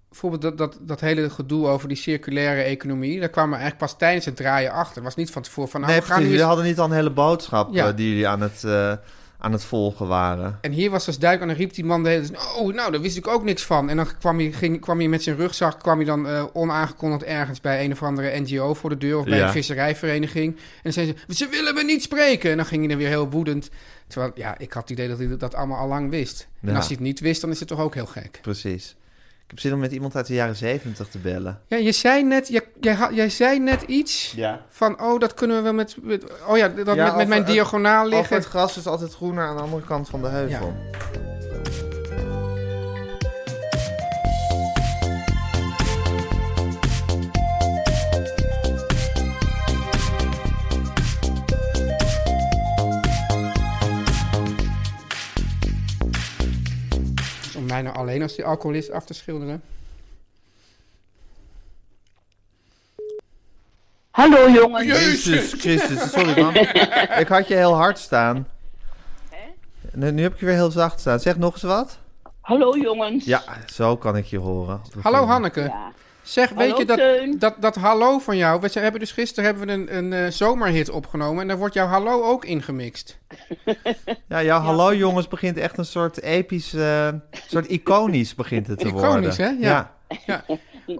bijvoorbeeld dat, dat, dat hele gedoe over die circulaire economie... daar kwamen we eigenlijk pas tijdens het draaien achter. Het was niet van tevoren van... Nou, nee, we gaan precies. nu Jullie eens- hadden niet al een hele boodschap Ja. eh, die jullie aan het, eh, aan het volgen waren. En hier was dus duik en dan riep die man de hele tijd... Oh, nou, daar wist ik ook niks van. En dan kwam hij, ging, kwam hij met zijn rugzak... kwam hij dan eh, onaangekondigd ergens bij een of andere NGO voor de deur... of bij Ja. een visserijvereniging. En dan zei ze... Ze willen me niet spreken! En dan ging hij dan weer heel woedend. Terwijl, ja, ik had het idee dat hij dat allemaal al lang wist. En Ja. als hij het niet wist, dan is het toch ook heel gek. Precies. Ik heb zin om met iemand uit de jaren zeventig te bellen. Ja, je zei net, je, jij, ha- jij zei net iets... Ja. van, oh, dat kunnen we wel met... met- oh ja, dat Ja, met, met over mijn het- diagonaal Of liggen. het gras is altijd groener aan de andere kant van de heuvel. Om mij nou alleen als die alcoholist af te schilderen. Hallo jongens. Jezus Christus, sorry (laughs) man. ik had je heel hard staan. Nu, nu heb ik je weer heel zacht staan. Zeg nog eens wat. Hallo jongens. Ja, zo kan ik je horen. eh, Hallo Hanneke. Ja. Zeg, weet Hallo, je dat, Teun. dat, dat hallo van jou? We zijn- hebben dus gisteren hebben we een, een eh, zomerhit opgenomen en daar wordt jouw hallo ook ingemixt. Ja, jouw hallo jongens begint echt een soort episch, eh, soort iconisch begint het te Iconisch, worden. hè? Ja.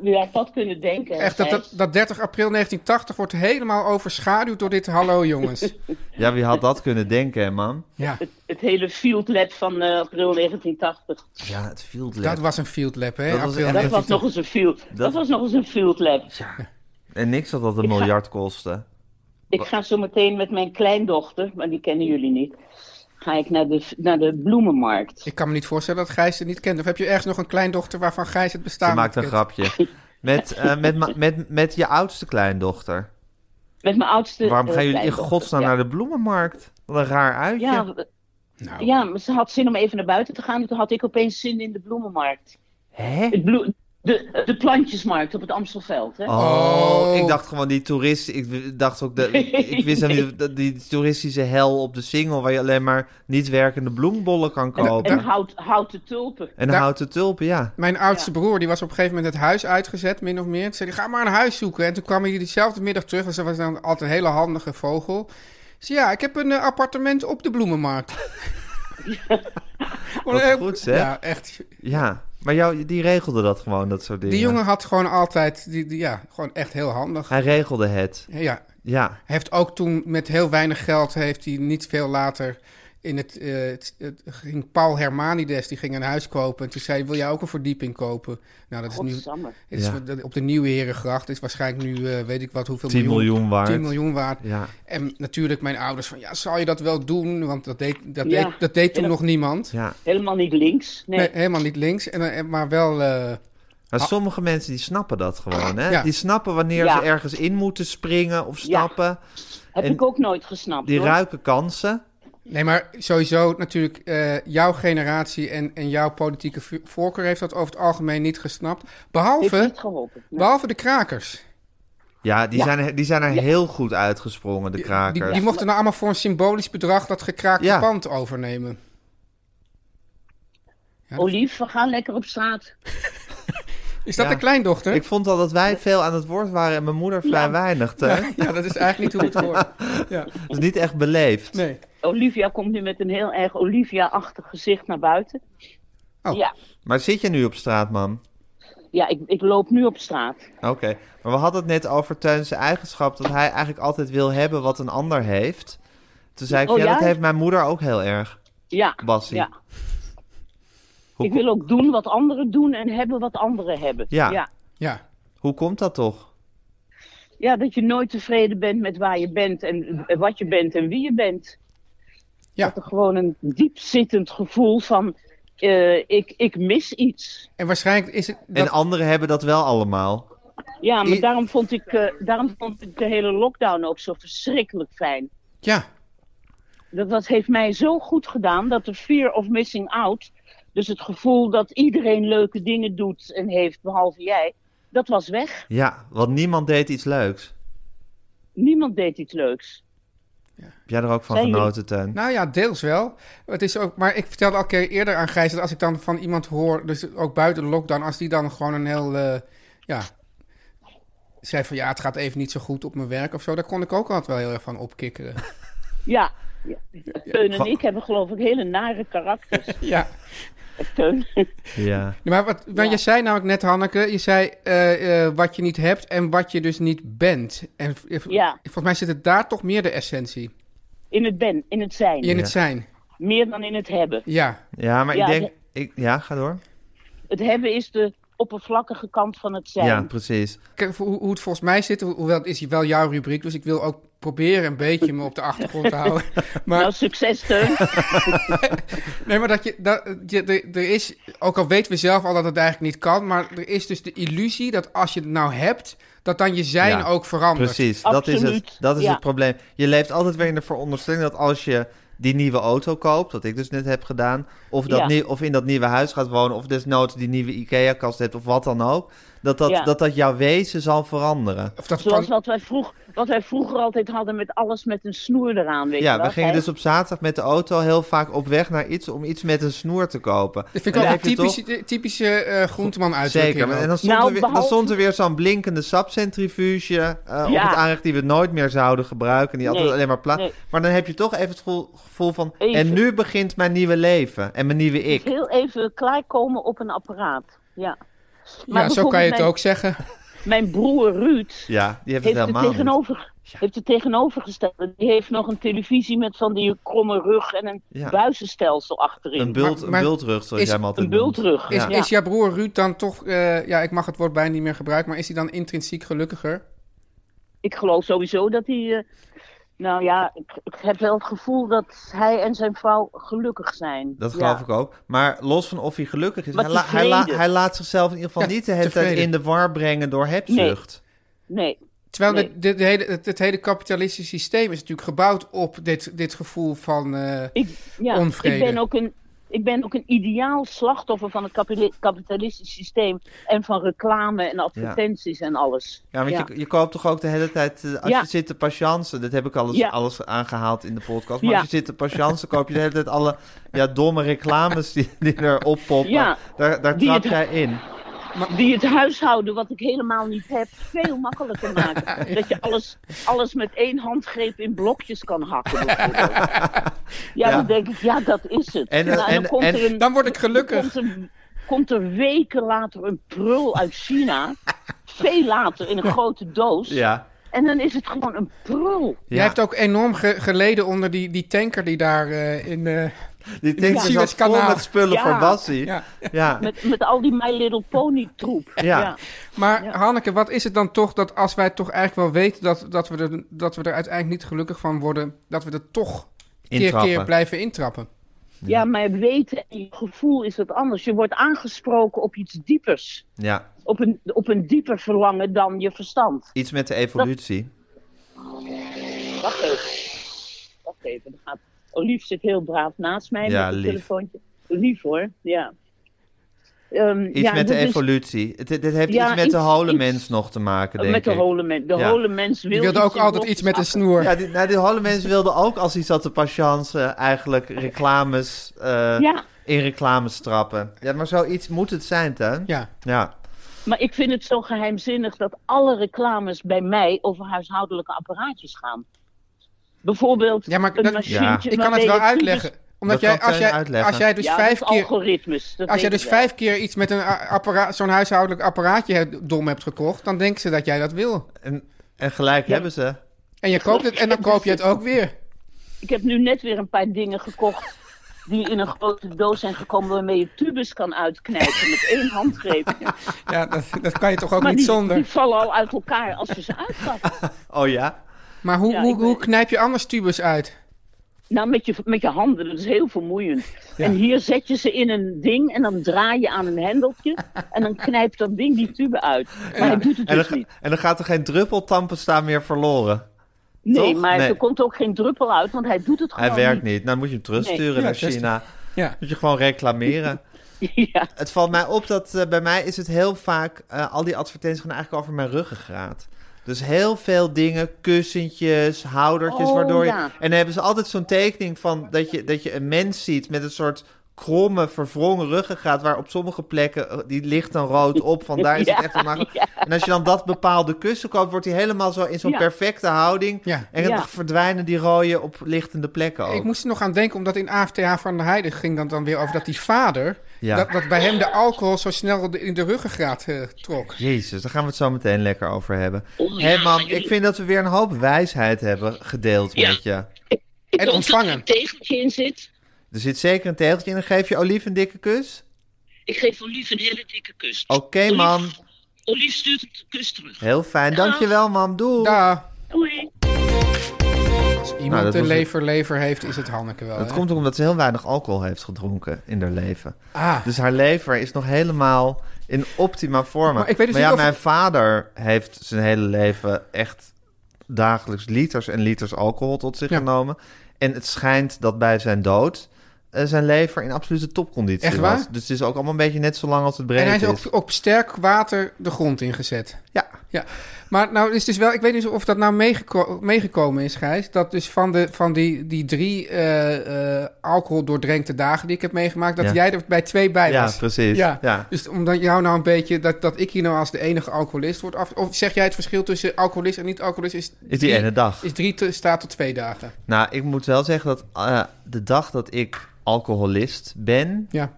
Wie had dat kunnen denken? Echt, dat, dat, Gijs? dat 30 april 1980 wordt helemaal overschaduwd door dit (laughs) hallo, jongens. Ja, wie had dat kunnen denken, hè, man? Ja, Het hele field lab van eh, april 1980. Ja, het field lab. dat was een field lab, hè? Dat was april echt- Dat 1980. was nog eens een field. Dat, Dat- was nog eens een field lab. En niks dat dat een Ik ga- miljard kostte. Ik ga zo meteen met mijn kleindochter, maar die kennen jullie niet. Ga ik naar de, naar de bloemenmarkt. Ik kan me niet voorstellen dat Gijs het niet kent. Of heb je ergens nog een kleindochter waarvan Gijs het bestaan Ze maakt niet een kent? grapje. Met, eh, met, ma- met, met je oudste kleindochter. Met mijn oudste. Waarom eh, gaan jullie in kleindochter, godsnaam ja. naar de bloemenmarkt? Wat een raar uitje. Ja, Ja, we- Nou, ja, maar ze had zin om even naar buiten te gaan. En toen had ik opeens zin in de bloemenmarkt. Hè? Het bloe- de, de plantjesmarkt op het Amstelveld. Hè? Oh, Oh. ik dacht gewoon die toeristen. Ik dacht ook dat. Ik wist helemaal (laughs) niet dat die toeristische hel op de single waar je alleen maar niet werkende bloembollen kan kopen. en En, hout, houten tulpen. daar- houten tulpen, ja. Mijn oudste broer, die was op een gegeven moment het huis uitgezet, min of meer. Toen zei hij, ga maar een huis zoeken. En toen kwam hij diezelfde middag terug, en ze was dan altijd een hele handige vogel. Ze ja, ik heb een eh, appartement op de bloemenmarkt. Gewoon heel- goed, zeg. Ja, echt. Ja. Maar jou, die regelde dat gewoon, dat soort dingen. Die jongen had gewoon altijd, die, die- ja, gewoon echt heel handig. Hij regelde het. Ja, Ja. hij heeft ook toen met heel weinig geld, heeft hij niet veel later... In het, eh, het- het ging Paul Hermanides, die ging een huis kopen. En toen zei hij, wil jij ook een verdieping kopen? Nou, dat is nu Godsamme. Het is Ja. wat- op de Nieuwe Herengracht is waarschijnlijk nu, eh, weet ik wat, hoeveel 10 miljoen waard. 10 miljoen waard. Ja. En natuurlijk mijn ouders van, ja, zal je dat wel doen? Want dat deed, dat Ja. deed, dat deed toen Ja. nog niemand. Ja. Helemaal niet links. Nee. Nee, helemaal niet links, en, eh, maar wel... eh, Maar sommige mensen die snappen dat gewoon, hè? Ja. Die snappen wanneer Ja. ze ergens in moeten springen of stappen. Heb en ik ook nooit gesnapt. Die hoor. ruiken kansen. nee, maar sowieso natuurlijk eh, jouw generatie en, en jouw politieke vu- voorkeur heeft dat over het algemeen niet gesnapt. Heeft Behalve, niet geholpen. Nee. behalve de krakers. Ja, die, Zijn, er- die zijn er heel goed uitgesprongen, de krakers. Die, die mochten nou allemaal voor een symbolisch bedrag dat gekraakte Ja. pand overnemen. Olief, we gaan lekker op straat. Is dat Ja. de kleindochter? Ik vond al dat wij veel aan het woord waren en mijn moeder vrij weinig. Teun. ja, (laughs) ja, dat is eigenlijk niet hoe het (laughs) hoort. Ja, Dat is niet echt beleefd. nee. Olivia komt nu met een heel erg Olivia-achtig gezicht naar buiten. Oh. Ja, Maar zit je nu op straat, man? ja ik, ik loop nu op straat. Oké. Maar we hadden het net over Teun's eigenschap dat hij eigenlijk altijd wil hebben wat een ander heeft. Toen zei ik, Oh, ja, ja? dat heeft mijn moeder ook heel erg, Ja, Bassie. ja. Hoe, ik ko- wil ook doen wat anderen doen en hebben wat anderen hebben. Ja. Ja. Ja, hoe komt dat toch? Ja, dat je nooit tevreden bent met waar je bent en eh, wat je bent en wie je bent. Ja. Dat er gewoon een diepzittend gevoel van, eh, ik, ik mis iets. en waarschijnlijk is het... En Dat... anderen hebben dat wel allemaal. Ja, maar I- daarom, vond ik, eh, daarom vond ik de hele lockdown ook zo verschrikkelijk fijn. Ja, Dat, dat heeft mij zo goed gedaan dat de fear of missing out, dus het gevoel dat iedereen leuke dingen doet en heeft behalve jij, dat was weg. Ja, want niemand deed iets leuks. Niemand deed iets leuks. Heb jij er ook van Zijn jullie- genoten, Teun? nou ja, deels wel. Het is ook, maar ik vertelde al een keer eerder aan Gijs dat als ik dan van iemand hoor, dus ook buiten de lockdown, als die dan gewoon een heel, eh, ja, zei van ja, het gaat even niet zo goed op mijn werk of zo, daar kon ik ook altijd wel heel erg van (laughs) opkikkeren. Ja, ja. Teun en ik hebben geloof ik hele nare karakters. (laughs) ja. Teun. Ja. Nee, Maar wat, want je zei namelijk net, Hanneke, je zei eh, eh, wat je niet hebt en wat je dus niet bent. En v- eh, Ja. volgens mij zit het daar toch meer de essentie. In het ben, in het zijn. In het zijn. Meer dan in het hebben. Ja, ja, maar Ja, ik denk... Ik, ja, ga door. Het hebben is de oppervlakkige kant van het zijn. Ja, precies. Kijk, hoe, hoe het volgens mij zit, ho- hoewel het is wel jouw rubriek, dus ik wil ook proberen een beetje me op de achtergrond (laughs) te houden. Nou, Maar, succes Teun. nee, maar dat je, dat, je er, er is, ook al weten we zelf al dat het eigenlijk niet kan, maar er is dus de illusie dat als je het nou hebt, dat dan je zijn Ja, ook verandert. Precies, dat is, het, Absoluut, dat is ja. het probleem. Je leeft altijd weer in de veronderstelling dat als je die nieuwe auto koopt, wat ik dus net heb gedaan, of, dat Ja. nie- of in dat nieuwe huis gaat wonen, of desnoods die nieuwe IKEA-kast hebt, of wat dan ook, dat dat, Ja. dat, dat jouw wezen zal veranderen. Of dat Zoals kan- wat wij, vroeg, wat wij vroeger altijd hadden met alles met een snoer eraan. Weet je Ja, wel, we gingen Gijs? dus op zaterdag met de auto heel vaak op weg naar iets om iets met een snoer te kopen. dat vind ik Dan ook een heb je toch- typische, typische eh, groenteman uitdrukking. Zeker, maar- en dan stond, Nou, er, weer, dan behalve- stond er weer zo'n blinkende sapcentrifuge eh, op Ja. het aanrecht die we nooit meer zouden gebruiken. Die altijd Nee, alleen maar pla- nee. Maar dan heb je toch even het gevoel, gevoel van, Even. en nu begint mijn nieuwe leven en mijn nieuwe (laughs) ik. Heel even klaarkomen op een apparaat. Ja. Maar ja, zo kan je het bijvoorbeeld ook zeggen. Mijn broer Ruud Ja, die heeft, heeft, het het helemaal niet. tegenover, heeft het tegenovergestelde. Die heeft nog een televisie met van die kromme rug en een Ja. buizenstelsel achterin. Een, bult, Maar- een maar bultrug, zoals is jij hem altijd een noemt. bultrug. Is, Ja. is jouw broer Ruud dan toch, eh, ja, ik mag het woord bijna niet meer gebruiken, maar is hij dan intrinsiek gelukkiger? ik geloof sowieso dat hij. eh, nou ja, ik, ik heb wel het gevoel dat hij en zijn vrouw gelukkig zijn. Dat Ja. geloof ik ook. Maar los van of hij gelukkig is, Maar hij, la- hij, la- tevreden. hij laat zichzelf in ieder geval Ja, niet de hele tijd tevreden. in de war brengen door hebzucht. Nee, Terwijl Nee. dit- dit hele, het, het hele kapitalistische systeem is natuurlijk gebouwd op dit, dit gevoel van... eh, ik, ja, ik, Onvrede. ben ook een, ik ben ook een ideaal slachtoffer van het kapitali- kapitalistisch systeem. En van reclame en advertenties en alles. Ja, want Ja. Je, je koopt toch ook de hele tijd, eh, als Ja. je zit te patiënten, dat heb ik alles, Ja. alles aangehaald in de podcast, maar Ja. als je zit te patiënten, koop je de hele tijd alle ja, domme reclames die, die er oppoppen. Ja. Daar, daar Die trap het- jij in. Die het huishouden, wat ik helemaal niet heb, veel (laughs) makkelijker maken. Dat je alles, alles met één handgreep in blokjes kan hakken. (laughs) bijvoorbeeld. Ja, Ja. dan denk ik, ja, dat is het. En, eh, Nou, en- komt en- er een- dan word ik gelukkig. Komt er, komt er weken later een prul uit (laughs) China. Veel later in een grote doos. Ja. En dan is het gewoon een prul. Jij hebt ook enorm ge- geleden onder die, die tanker die daar eh, in... eh, Die tank is al Suezkanaal. vol met spullen Ja. voor Bassie. Ja. ja. Ja. Met, met al die My Little Pony troep. Ja. Maar Hanneke, wat is het dan toch dat als wij toch eigenlijk wel weten dat, dat, we, er, dat we er uiteindelijk niet gelukkig van worden, dat we er toch keer Intrappen. keer blijven intrappen? Ja, maar weten en je gevoel is wat anders. Je wordt aangesproken op iets diepers. Op een, op een dieper verlangen dan je verstand. iets met de evolutie. Wacht even. Wacht even. er Gaat... Olief zit heel braaf naast mij Ja, met het lief. telefoontje. Lief hoor, ja. Ehm, Iets ja, met de dat is- evolutie. Het- Dit, dit heeft Ja, iets met iets- de hole iets- mens nog te maken, denk Met de ik. hole mens. De Ja. hole mens wil Je wilde ook in altijd blokjes iets met een hakken. snoer. Ja, die, nou, die holle mensen wilden ook als hij zat te patiënten eigenlijk reclames eh, Ja, in reclames trappen. Ja, maar zoiets moet het zijn, Teun. Ja, Ja. Maar ik vind het zo geheimzinnig dat alle reclames bij mij over huishoudelijke apparaatjes gaan. Bijvoorbeeld ja maar een dat- machientje. ik waarmee kan het wel je koelkast- uitleggen. Omdat Dat jij, kan als, Teun jij, uitleggen. als jij dus Ja, vijf met keer... algoritmes. dat Als jij weet dus ik wel. vijf keer iets met een a- apparaat, zo'n huishoudelijk apparaatje hebt- dom hebt gekocht, dan denken ze dat jij dat wil. En, en gelijk hebben ze. En je koopt het en dan koop je het ook weer. Ik heb nu net weer een paar dingen gekocht. Die in een grote doos zijn gekomen waarmee je tubus kan uitknijpen met één (laughs) handgreep. Ja, dat, dat kan je toch ook Maar niet die, die zonder. vallen al uit elkaar als we ze uitpakken. Oh ja? Maar hoe, Ja, hoe, ik hoe weet- knijp je anders tubus uit? Nou, met je, met je handen, dat is heel vermoeiend. En hier zet je ze in een ding en dan draai je aan een hendeltje. En dan knijpt dat ding die tube uit. Maar hij doet het En dan, dus ga- niet. en dan gaat er geen druppel tandpasta meer verloren. Nee, toch? maar Nee. er komt ook geen druppel uit, want hij doet het gewoon Hij werkt niet. Nou, dan moet je hem terugsturen Nee. naar Ja, China. Ja. Moet je gewoon reclameren. (laughs) Ja. het valt mij op dat eh, bij mij is het heel vaak... eh, al die advertenties gaan eigenlijk over mijn ruggengraat. Dus heel veel dingen, kussentjes, houdertjes, Oh, waardoor je... ja. En dan hebben ze altijd zo'n tekening van dat je, dat je een mens ziet met een soort kromme, verwrongen ruggengraat, waar op sommige plekken, eh, die ligt dan (laughs) rood op, vandaar is Ja, het echt onmogelijk. En als je dan dat bepaalde kussen koopt, wordt die helemaal zo in zo'n Ja. perfecte houding. Ja. En dan Ja. verdwijnen die rode op lichtende plekken ook. Ik moest er nog aan denken, omdat in AFTH van der Heijden ging dan, dan weer over dat die vader, Ja. dat, dat bij hem de alcohol zo snel de- in de ruggengraat eh, Nou, trok. Jezus, daar gaan we het zo meteen lekker over hebben. Hé man, ik vind dat we weer een hoop wijsheid hebben gedeeld Ja. met je. Ik En hoop ontvangen. dat er een tegeltje in zit. Er zit zeker een tegeltje in. Dan geef je Olief een dikke kus. Ik geef Olief een hele dikke kus. Oké man, Olief- Olief stuurt een kus terug. heel fijn. Dankjewel man, doei. Daar. Doei. Als iemand Nou, dat de was- lever lever heeft, is het Hanneke wel. Dat Oh, hè? komt ook omdat ze heel weinig alcohol heeft gedronken in haar leven. Ah, Dus haar lever is nog helemaal in optima forma. Maar ik weet dus ja, niet of- mijn vader heeft zijn hele leven echt dagelijks liters en liters alcohol tot zich Ja. genomen. En het schijnt dat bij zijn dood eh, zijn lever in absolute topconditie Echt waar? was. Dus het is ook allemaal een beetje net zo lang als het breed en hij is is. ook op sterk water de grond ingezet. Ja, Ja, maar nou is dus wel, ik weet niet of dat nou meegeko- meegekomen is, Gijs. Dat dus van, de, van die, die drie eh, eh, alcohol doordrenkte dagen die ik heb meegemaakt, dat Ja. jij er bij twee bij ja was. precies. Ja. Ja. Dus omdat jou nou een beetje, dat, dat ik hier nou als de enige alcoholist word af. Of zeg jij het verschil tussen alcoholist en niet-alcoholist is. Is die ene dag. Is drie te, staat tot twee dagen. Nou, ik moet wel zeggen dat eh, de dag dat ik alcoholist ben, Ja.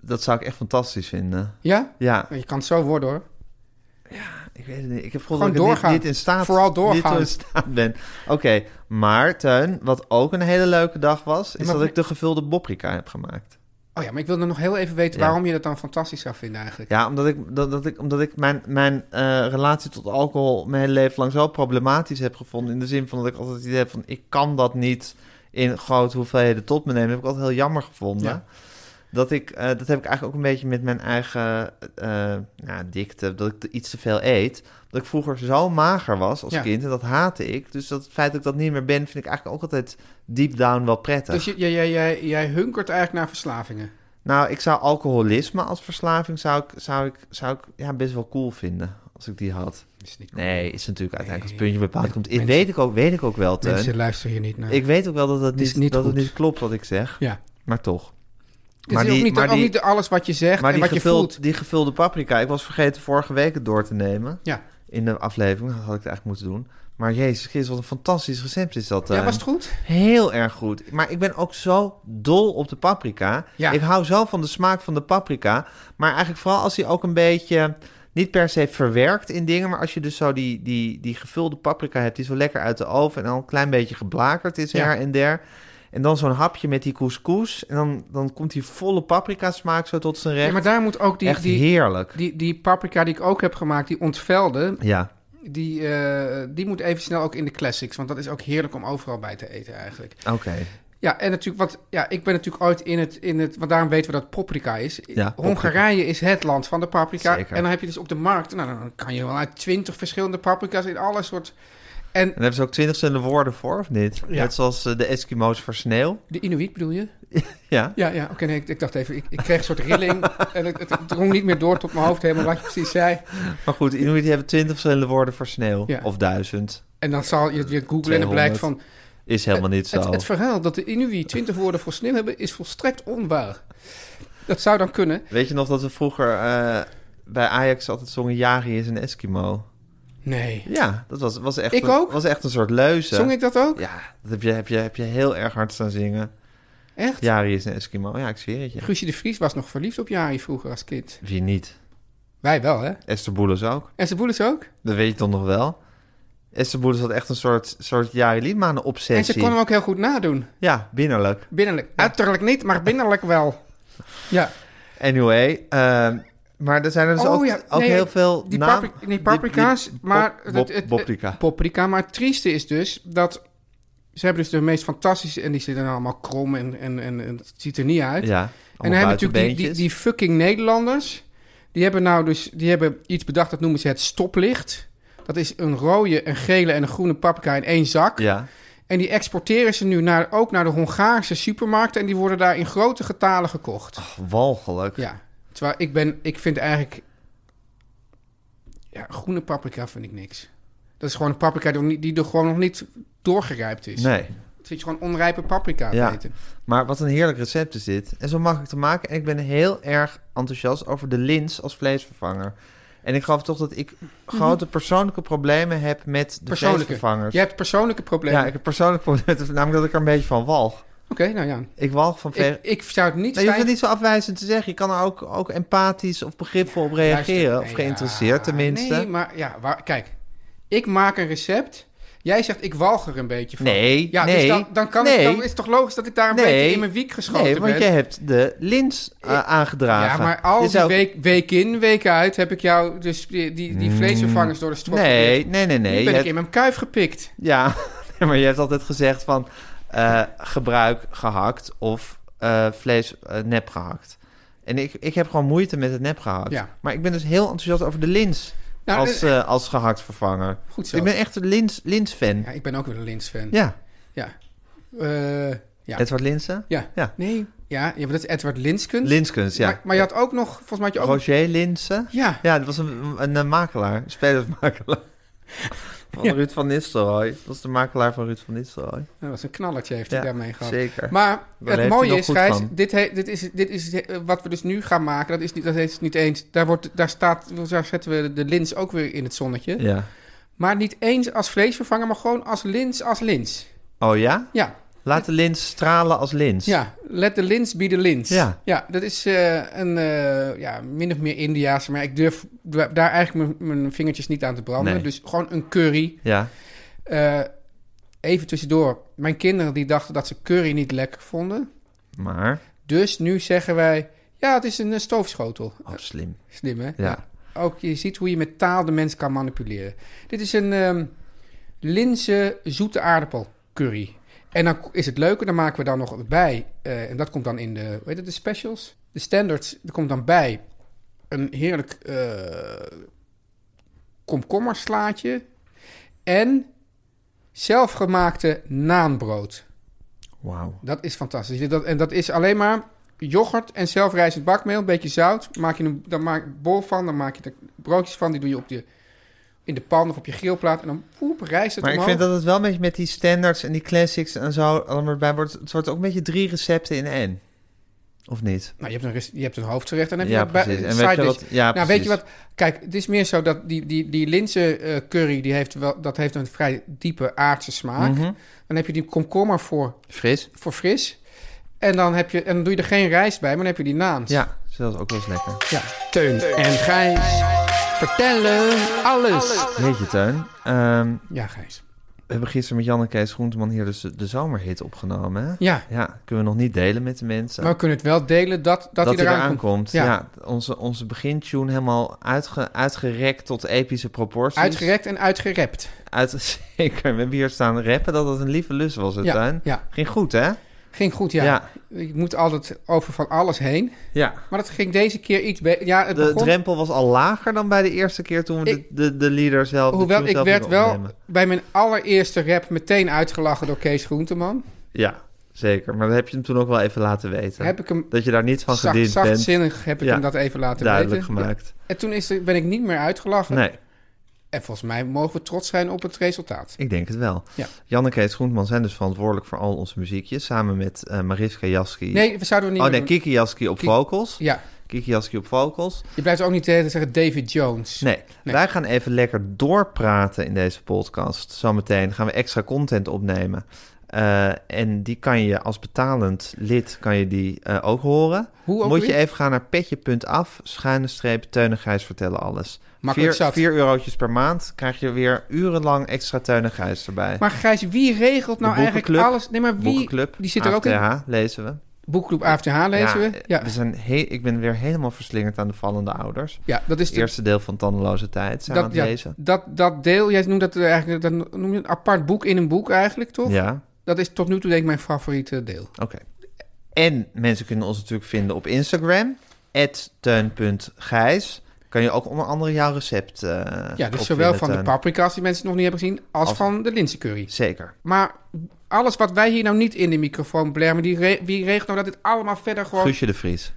dat zou ik echt fantastisch vinden. Ja? Ja, Je kan het zo worden hoor. Ik weet het niet. Ik heb gevoel Gewoon dat ik er niet, doorgaan. niet in staat, Vooral niet doorgaan. in staat ben. Oké, maar Teun, wat ook een hele leuke dag was... is maar- dat ik de gevulde boprika heb gemaakt. Oh ja, maar ik wilde nog heel even weten Ja. waarom je dat dan fantastisch zou vinden eigenlijk. Ja, omdat ik, dat, dat ik, omdat ik mijn, mijn eh, relatie tot alcohol... mijn hele leven lang zo problematisch heb gevonden... in de zin van dat ik altijd het idee heb van... ik kan dat niet in grote hoeveelheden tot me nemen. Dat heb ik altijd heel jammer gevonden. Ja. Dat, ik, eh, dat heb ik eigenlijk ook een beetje met mijn eigen eh, nou, dikte, dat ik te- iets te veel eet. Dat ik vroeger zo mager was als Ja. kind en dat haatte ik. Dus dat het feit dat ik dat niet meer ben, vind ik eigenlijk ook altijd deep down wel prettig. Dus je- jij, jij, jij, jij hunkert eigenlijk naar verslavingen. Nou, ik zou alcoholisme als verslaving zou ik, zou ik, zou ik ja, best wel cool vinden als ik die had. Dat is niet Nee, is natuurlijk uiteindelijk als Nee. puntje bepaald komt. Mensen- weet, ik ook, weet ik ook wel, Teun. Mensen luisteren hier niet naar. Ik weet ook wel dat, het is niet, niet dat het goed. niet klopt wat ik zeg, Ja. maar toch. Het is ook niet, ook niet alles wat je zegt Maar en die, wat je voelt. gevuld, die gevulde paprika, ik was vergeten vorige week het door te nemen. Ja. In de aflevering, dat had ik het eigenlijk moeten doen. Maar jezus, Christus, wat een fantastisch recept is dat. Ja, eh. was het goed? Heel erg goed. Maar ik ben ook zo dol op de paprika. Ja. Ik hou zo van de smaak van de paprika. Maar eigenlijk vooral als die ook een beetje... Niet per se verwerkt in dingen, maar als je dus zo die, die, die gevulde paprika hebt... die zo lekker uit de oven en al een klein beetje geblakerd is Ja. her en der... en dan zo'n hapje met die couscous... en dan, dan komt die volle paprika smaak zo tot zijn recht. Ja, maar daar moet ook die, Echt die, heerlijk. die, die paprika die ik ook heb gemaakt, die ontvelde, Ja, die, eh, die moet even snel ook in de classics. Want dat is ook heerlijk om overal bij te eten eigenlijk. oké. Ja, en natuurlijk, wat, ja, ik ben natuurlijk ooit in het, in het, want daarom weten we dat paprika is. Ja, Hongarije is het land van de paprika. Zeker. En dan heb je dus op de markt, nou dan kan je wel uit twintig verschillende paprika's in alle soort. En En daar hebben ze ook twintig verschillende woorden voor, of niet? Ja. Net zoals eh, de Eskimo's voor sneeuw. de Inuit bedoel je? Ja. Ja, ja, oké, nee, ik, ik dacht even, ik, ik kreeg een soort rilling en het, het drong niet meer door tot mijn hoofd helemaal wat je precies zei. Maar goed, Inuit die hebben twintig verschillende woorden voor sneeuw. Ja. Of duizend. En dan zal je het weer googlen en het 200. blijkt van... Is helemaal niet zo. Het, het verhaal dat de Inuit 20 woorden voor sneeuw hebben is volstrekt onwaar. Dat zou dan kunnen. Weet je nog dat we vroeger eh, bij Ajax altijd zongen Jari is een Eskimo? Nee. Ja, dat was, was, echt, Ik een, ook? was echt een soort leuze. Zong ik dat ook? Ja, dat heb je, heb, je, heb je heel erg hard staan zingen. Echt? Jari is een Eskimo. Ja, ik zweer het je. Guusje de Vries was nog verliefd op Jari vroeger als kind. Wie niet? Wij wel, hè? Esther Boelens ook. En ze boelens ook. Dat weet je toch nog wel? Esther Boelens had echt een soort, soort Jari Liedmanen obsessie. En ze kon hem ook heel goed nadoen. Ja, binnenlijk. Binnenlijk. Uiterlijk niet, maar binnenlijk wel. Ja. Anyway, ehm, maar er zijn er dus ook, ook Oh nee, heel veel die naam- papri- niet paprika's, die- die maar... pop- het- het- paprika. Paprika, maar het trieste is dus dat... Ze hebben dus de meest fantastische... En die zitten dan allemaal krom en, en, en, en het ziet er niet uit. Ja, en dan allemaal hebben natuurlijk die, die, buitenbeentjes. die fucking Nederlanders. Die hebben nou dus... Die hebben iets bedacht, dat noemen ze het stoplicht. Dat is een rode, een gele en een groene paprika in één zak. Ja, En die exporteren ze nu naar, ook naar de Hongaarse supermarkten. En die worden daar in grote getalen gekocht. walgelijk. Ja. Terwijl ik ben, ik vind eigenlijk. Ja, groene paprika vind ik niks. Dat is gewoon een paprika die nog niet- die er gewoon nog niet doorgerijpt is. Nee. Het is gewoon onrijpe paprika te Ja. eten. Maar wat een heerlijk recept is dit. En zo mag ik te maken. En ik ben heel erg enthousiast over de lins als vleesvervanger. En ik geloof toch dat ik grote persoonlijke problemen heb met de Mhm. Persoonlijke. vleesvervangers. Je hebt persoonlijke problemen. Ja, ik heb persoonlijk probleem, (laughs) namelijk dat ik er een beetje van walg. Oké, nou ja. Ik walg van vlees. Ik, ik zou het niet Nee, je hoeft fijn- het niet zo afwijzend te zeggen. Je kan er ook, ook empathisch of begripvol op reageren. Luister, of nee, geïnteresseerd ja, tenminste. Nee, maar ja, waar, kijk. Ik maak een recept. Jij zegt, ik walg er een beetje van. Nee, ja, nee, Dus dan, dan, kan nee. ik, dan is het toch logisch dat ik daar een Nee. beetje in mijn wiek geschoten Nee, want ben? jij hebt de lins eh, Ja, aangedragen. maar al Je die zou- week, week in, week uit heb ik jou dus die, die, die vleesvervangers door de strop Hmm. Nee, geprobeerd. nee, nee, nee. Nu Je ben ik hebt- in mijn kuif gepikt. Ja, (laughs) nee, maar je hebt altijd gezegd van eh, gebruik gehakt of eh, vlees eh, nep gehakt. En ik, ik heb gewoon moeite met het nep gehakt. Ja. Maar ik ben dus heel enthousiast over de lins Nou, als, eh, eh, als gehakt vervanger. Goed zo. Ik ben echt een lins, lins fan. Ja, Ja. ik ben ook weer een Lins-fan. ja. Ja. Eh, ja. Edward Linsen? ja. ja. Nee. Ja, ja, maar dat is Edward Linskunst. Linskunst, ja. Maar, maar je had ook nog, volgens mij had je ook... Roger Linsen? Ja. Ja, dat was een, een, eh, makelaar, een (laughs) spelersmakelaar. Van Ja. Ruud van Nistelrooy. Dat was de makelaar van Ruud van Nistelrooy. Dat was een knallertje, heeft Ja, hij daarmee gehad. zeker. Maar leeft hij het mooie nog is, goed Gijs, van. dit, he- dit is, dit is eh, wat we dus nu gaan maken. Dat is niet, dat is niet eens... Daar, wordt, daar, staat, daar zetten we de lins ook weer in het zonnetje. Ja. Maar niet eens als vleesvervanger, maar gewoon als lins als lins. Oh ja? Ja, Laat de lins stralen als lins. ja. let de lins be the lins. Dus- Ja. ja dat is eh, een eh, ja, min of meer Indiaas, maar ik durf da- daar eigenlijk mijn- mijn vingertjes niet aan te branden. Nee. Dus gewoon een curry. Ja. Eh, even tussendoor, mijn kinderen die dachten dat ze curry niet lekker vonden. Maar... Dus nu zeggen wij, ja, het is een eh, stoofschotel. Oh, slim. Slim, hè? Ja. Ook je ziet hoe je met taal de mens kan manipuleren. Dit is een ehm linzen zoete aardappelcurry. En dan is het leuke, dan maken we dan nog bij. eh, en dat komt dan in de, hoe heet het, de specials? De standards, er komt dan bij een heerlijk eh komkommerslaatje. En zelfgemaakte naanbrood. Wauw. Dat is fantastisch. Dit- Dat, en dat is alleen maar yoghurt en zelfrijzend bakmeel, een beetje zout. Maak je een dan maak je een bol van, dan maak je er broodjes van. Die doe je op de, in de pan of op je grillplaat. En dan poep, rijst het Maar ik omhoog. vind dat het wel een beetje met die standards en die classics en zo allemaal bij wordt. Het wordt ook een beetje drie recepten in één. Of niet? Nou, je hebt een, res- je hebt een hoofdgerecht en dan heb Ja, je wat bij- precies. een En weet side je dish. wat- ja, nou, weet je precies. wat? Kijk, het is meer zo dat die, die, die linzen eh, curry, die heeft wel, dat heeft een vrij diepe aardse smaak. Mhm. Dan heb je die komkommer voor, Fris? voor fris. En dan, heb je, en dan doe je er geen rijst bij, maar dan heb je die naans. Ja, dus dat is ook wel eens lekker. Ja, Teun en Gijs vertellen alles. Weet je, Teun? ehm, Ja, Gijs. we hebben gisteren met Jan en Kees Groenteman hier dus de, de zomerhit opgenomen. Hè? Ja. kunnen we nog niet delen met de mensen. Maar we kunnen het wel delen dat, dat, dat Nou, hij eraan komt. Ja, Ja. onze, onze begintune helemaal uitge, uitgerekt tot epische proporties. Uitgerekt en uitgerept. Uit, (laughs) zeker. We hebben hier staan rappen dat het een lieve lust was, het Ja, Teun. ja. Ging goed, hè? Ging goed, ja. Ja. Ik moet altijd over van alles heen. Ja. Maar dat ging deze keer iets beter. Ja, het De begon... drempel was al lager dan bij de eerste keer toen we Ik- de, de, de leader zelf... de Hoewel, tune ik zelf werd gingen wel opnemen. bij mijn allereerste rap meteen uitgelachen door Kees Groenteman. Ja, zeker. Maar dat heb je hem toen ook wel even laten weten. Heb ik hem Dat je daar niet van zacht, gediend bent. zachtzinnig heb ik Ja. hem dat even laten Duidelijk weten. gemaakt. En toen is er, ben ik niet meer uitgelachen. Nee. En volgens mij mogen we trots zijn op het resultaat. Ik denk het wel. Ja. Jan en Kees Groenteman zijn dus verantwoordelijk voor al onze muziekjes. Samen met eh, Mariska Jaski. Nee, we zouden het niet oh meer nee, doen. Kiki Jaski op Ki- vocals. Ja, Kiki Jaski op vocals. je blijft ook niet tegen zeggen David Jones. Nee, Nee. wij gaan even lekker doorpraten in deze podcast. Zometeen gaan we extra content opnemen. Eh, en die kan je als betalend lid kan je die eh, ook horen. Hoe ook Moet je weer? even gaan naar petje.af, schuine streep, Teun en Gijs vertellen alles. Makkelijk vier, zat. vier eurotjes per maand krijg je weer urenlang extra Teun en Gijs erbij. Maar Gijs, wie regelt nou De eigenlijk boekenclub. alles? Nee, maar wie? Boekenclub, Die zit er ook in. AFTH, lezen we. Boekclub AFTH lezen we. Ja, Ja. zijn he- ik ben weer helemaal verslingerd aan de vallende ouders. ja, dat is Het de eerste deel van Tandeloze Tijd zijn we aan dat, het ja, lezen. dat, dat deel, jij noemt dat eh, eigenlijk dat noem je een apart boek in een boek eigenlijk, toch? Ja, Dat is tot nu toe denk ik mijn favoriete deel. Oké. En mensen kunnen ons natuurlijk vinden op Instagram. Teun.gijs. Kan je ook onder andere jouw recept eh Ja, dus zowel op vinden, van de Teun. paprika's die mensen nog niet hebben gezien, als, eh, Als- van de linzencurry. Zeker. Maar alles wat wij hier nou niet in de microfoon blermen, die re- wie regelt nou dat dit allemaal verder gewoon... Guusje de Vries.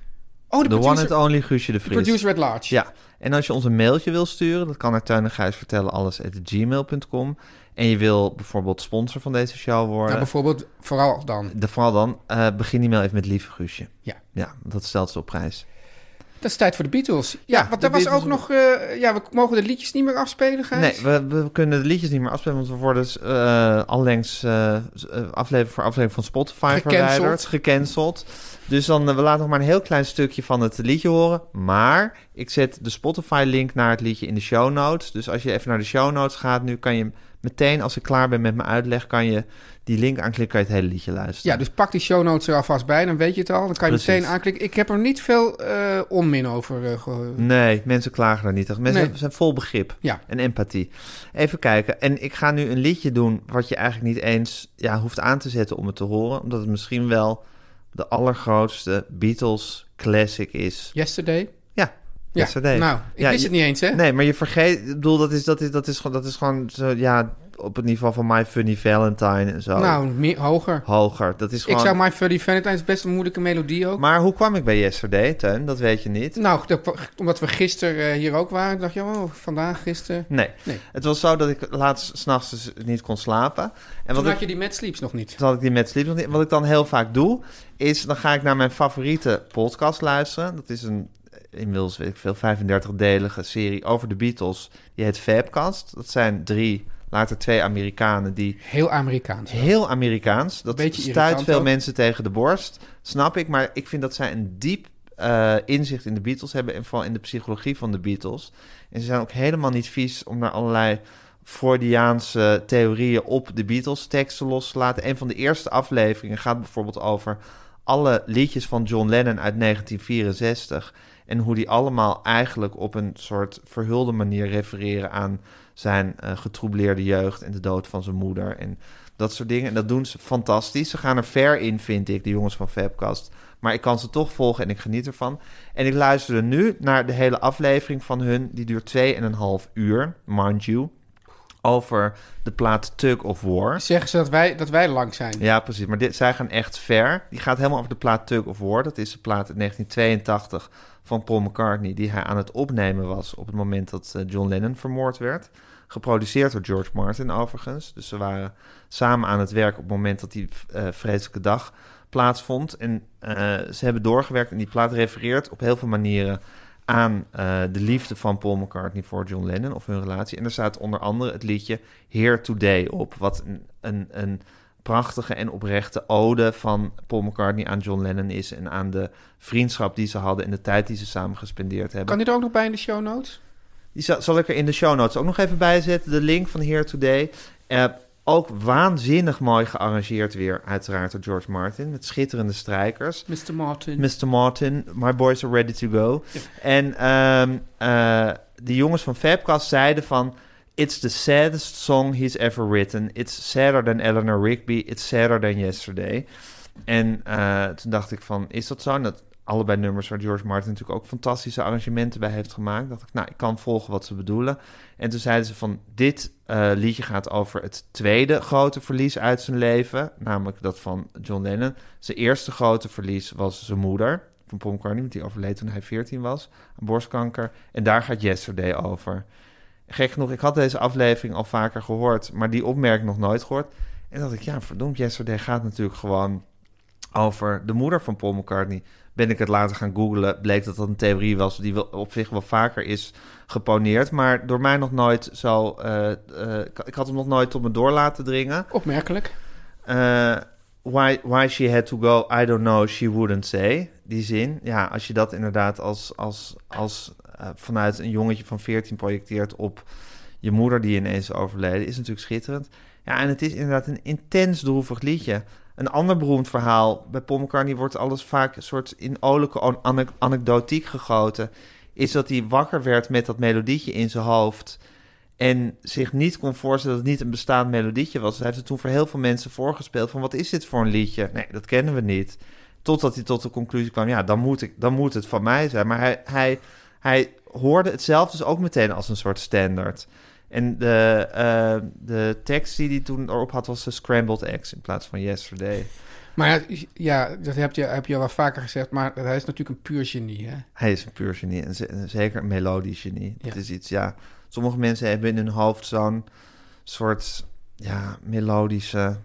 oh, de De one and producer, only Guusje de de Vries. producer at large. Ja. En als je ons een mailtje wil sturen, dat kan naar Teun en Gijs vertellen alles at gmail.com. En je wil bijvoorbeeld sponsor van deze show worden. Nou, bijvoorbeeld, vooral dan. de, vooral dan, eh, begin die mail even met lieve Guusje. Ja. Ja, dat stelt ze op prijs. Dat is tijd voor de Beatles. Ja, Ja, want de er was Beatles- ook nog... eh, ja, we mogen de liedjes niet meer afspelen, Gijs. Nee, we, we kunnen de liedjes niet meer afspelen, want we worden eh allengs eh, z- eh, aflevering voor aflevering van Spotify Gecanceld. verwijderd, gecanceld. Dus dan, eh, we laten nog maar een heel klein stukje van het liedje horen. Maar ik zet de Spotify-link naar het liedje in de show notes. Dus als je even naar de show notes gaat, nu kan je meteen, als ik klaar ben met mijn uitleg, kan je die link aanklikken, kan je het hele liedje luisteren. Ja, dus pak die show notes er alvast bij, dan weet je het al. Dan kan je Precies. meteen aanklikken. Ik heb er niet veel eh, onmin over eh, gehoord. Nee, mensen klagen daar niet. echt. Mensen Nee. zijn vol begrip Ja. en empathie. Even kijken. En ik ga nu een liedje doen wat je eigenlijk niet eens ja, hoeft aan te zetten om het te horen. Omdat het misschien wel de allergrootste Beatles classic is. Yesterday? Ja, Ja, yesterday. nou, ik Ja, wist je- het niet eens, hè? Nee, maar je vergeet... Ik bedoel, dat is, dat is, dat is, gewoon- dat is gewoon zo, ja, op het niveau van My Funny Valentine en zo. Nou, meer, hoger. Hoger. Dat is Ik Oh. gewoon... zou My Furry Valentine is best een moeilijke melodie ook. Maar hoe kwam ik bij Yesterday, Teun? Dat weet je niet. Nou, dat- omdat we gisteren eh, hier ook waren, dacht je, oh, vandaag, gisteren. Nee. Nee. Het was zo dat ik laatst s'nachts dus niet kon slapen. En wat Toen ik- had je die Mad Sleeps nog niet. Toen had ik die met Sleep nog niet. Wat ik dan heel vaak doe, is dan ga ik naar mijn favoriete podcast luisteren. Dat is een eh, inmiddels, weet ik veel, 35-delige serie over de Beatles. Die heet Fabcast. Dat zijn drie, later twee Amerikanen die... Heel Amerikaans. wel. Heel Amerikaans. Dat Beetje stuit irritant veel ook. mensen tegen de borst. Snap ik. Maar ik vind dat zij een diep eh, inzicht in de Beatles hebben. En vooral in de psychologie van de Beatles. En ze zijn ook helemaal niet vies om daar allerlei Freudiaanse theorieën op de Beatles teksten los te laten. Een van de eerste afleveringen gaat bijvoorbeeld over alle liedjes van John Lennon uit 1964. En hoe die allemaal eigenlijk op een soort verhulde manier refereren aan zijn eh getroubleerde jeugd en de dood van zijn moeder. En dat soort dingen. En dat doen ze fantastisch. Ze gaan er ver in, vind ik, de jongens van Fabcast. Maar ik kan ze toch volgen en ik geniet ervan. En ik luisterde nu naar de hele aflevering van hun. Die duurt 2,5 uur, mind you. Over de plaat Tug of War. Zeggen ze dat wij, dat wij lang zijn. Ja, precies. Maar dit, zij gaan echt ver. Die gaat helemaal over de plaat Tug of War. Dat is de plaat uit 1982 van Paul McCartney... die hij aan het opnemen was op het moment dat eh, John Lennon vermoord werd. Geproduceerd door George Martin overigens. Dus ze waren samen aan het werk op het moment dat die eh, vreselijke dag plaatsvond. En eh, ze hebben doorgewerkt en die plaat refereert op heel veel manieren... aan eh, de liefde van Paul McCartney voor John Lennon of hun relatie. En daar staat onder andere het liedje Here Today op. Wat een... een, een prachtige en oprechte ode van Paul McCartney aan John Lennon is en aan de vriendschap die ze hadden en de tijd die ze samen gespendeerd hebben. Kan dit er ook nog bij in de show notes? Die zal, zal ik er in de show notes ook nog even bij zetten. De link van Here Today. Eh, ook waanzinnig mooi gearrangeerd weer, uiteraard door George Martin met schitterende strijkers. Mr. Martin. Mr. Martin, my boys are ready to go. En ehm eh, de jongens van Fabcast zeiden van... It's the saddest song he's ever written. It's sadder than Eleanor Rigby. It's sadder than yesterday. En eh, toen dacht ik van, is dat zo? En dat allebei nummers waar George Martin natuurlijk ook fantastische arrangementen bij heeft gemaakt. Dacht ik, nou, ik kan volgen wat ze bedoelen. En toen zeiden ze van, dit eh, liedje gaat over het tweede grote verlies uit zijn leven. Namelijk dat van John Lennon. Zijn eerste grote verlies was zijn moeder, van Paul McCartney, want die overleed toen hij 14 was, aan borstkanker. En daar gaat Yesterday over. Gek genoeg, ik had deze aflevering al vaker gehoord, maar die opmerking nog nooit gehoord. En dat ik, ja, verdomd, Yesterday gaat natuurlijk gewoon over de moeder van Paul McCartney. Ben ik het later gaan googlen, bleek dat dat een theorie was die wel, op zich wel vaker is geponeerd. Maar door mij nog nooit zo... eh, eh, ik- ik had hem nog nooit tot me door laten dringen. Opmerkelijk. Eh, why, why she had to go, I don't know, she wouldn't say. Die zin, ja, als je dat inderdaad als, als, als eh, vanuit een jongetje van 14 projecteert op je moeder die ineens overleden, is natuurlijk schitterend. Ja, en het is inderdaad een intens droevig liedje. Een ander beroemd verhaal, bij Paul McCartney wordt alles vaak een soort in olijke an- anek- anekdotiek gegoten, is dat hij wakker werd met dat melodietje in zijn hoofd en zich niet kon voorstellen dat het niet een bestaand melodietje was. Hij heeft het toen voor heel veel mensen voorgespeeld van wat is dit voor een liedje? Nee, dat kennen we niet. Totdat hij tot de conclusie kwam, ja, dan moet, ik, dan moet het van mij zijn. Maar hij, hij, hij hoorde het zelf dus ook meteen als een soort standaard. En de, eh, de tekst die hij toen erop had was de Scrambled Eggs in plaats van Yesterday. Maar ja, dat heb je, heb je al wel vaker gezegd, maar hij is natuurlijk een puur genie, hè? Hij is een puur genie en ze- en zeker een melodisch genie. Ja. Het is iets, ja. Sommige mensen hebben in hun hoofd zo'n soort, ja, melodische...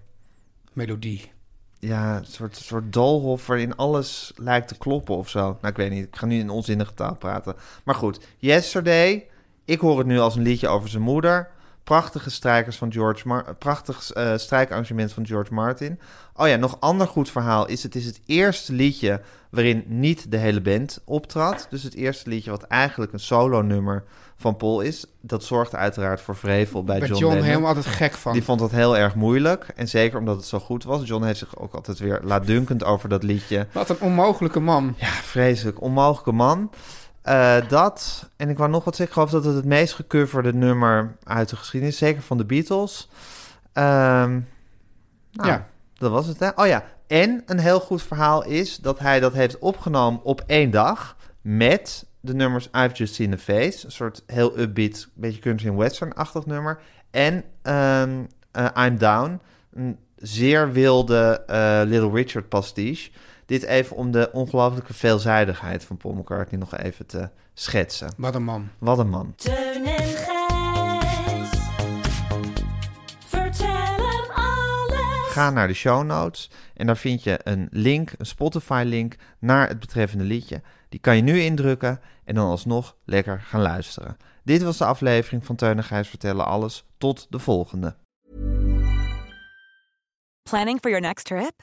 Melodie. ja, een soort, soort doolhof waarin alles lijkt te kloppen of zo. Nou, ik weet niet. Ik ga nu in onzinnige taal praten. Maar goed, Yesterday. Ik hoor het nu als een liedje over zijn moeder. Prachtige strijkers van George Mar prachtig eh strijkarrangement van George Martin. Oh ja, nog ander goed verhaal is: het is het eerste liedje waarin niet de hele band optrad. Dus het eerste liedje wat eigenlijk een solo-nummer van Paul is. Dat zorgt uiteraard voor vrevel bij, Bij John, Lennon. helemaal altijd gek van. Die vond dat heel erg moeilijk. En zeker omdat het zo goed was. John heeft zich ook altijd weer laatdunkend over dat liedje. Wat een onmogelijke man. Ja, vreselijk. Onmogelijke man. Eh, dat, en ik wou nog wat zeggen. Ik geloof dat het het meest gecoverde nummer uit de geschiedenis. Zeker van de Beatles. Ehm, nou, Ja. dat was het. Hè? Oh ja, en een heel goed verhaal is dat hij dat heeft opgenomen op één dag. Met de nummers I've Just Seen a Face. Een soort heel upbeat, beetje country en western-achtig nummer. En ehm, eh, I'm Down. Een zeer wilde eh, Little Richard pastiche. Dit even om de ongelooflijke veelzijdigheid van Paul McCartney nog even te schetsen. Wat een man. Wat een man. Teun en Gijs. Vertel hem alles. Ga naar de show notes en daar vind je een link, een Spotify-link naar het betreffende liedje. Die kan je nu indrukken en dan alsnog lekker gaan luisteren. Dit was de aflevering van Teun en Gijs Vertellen Alles. Tot de volgende. Planning for your next trip?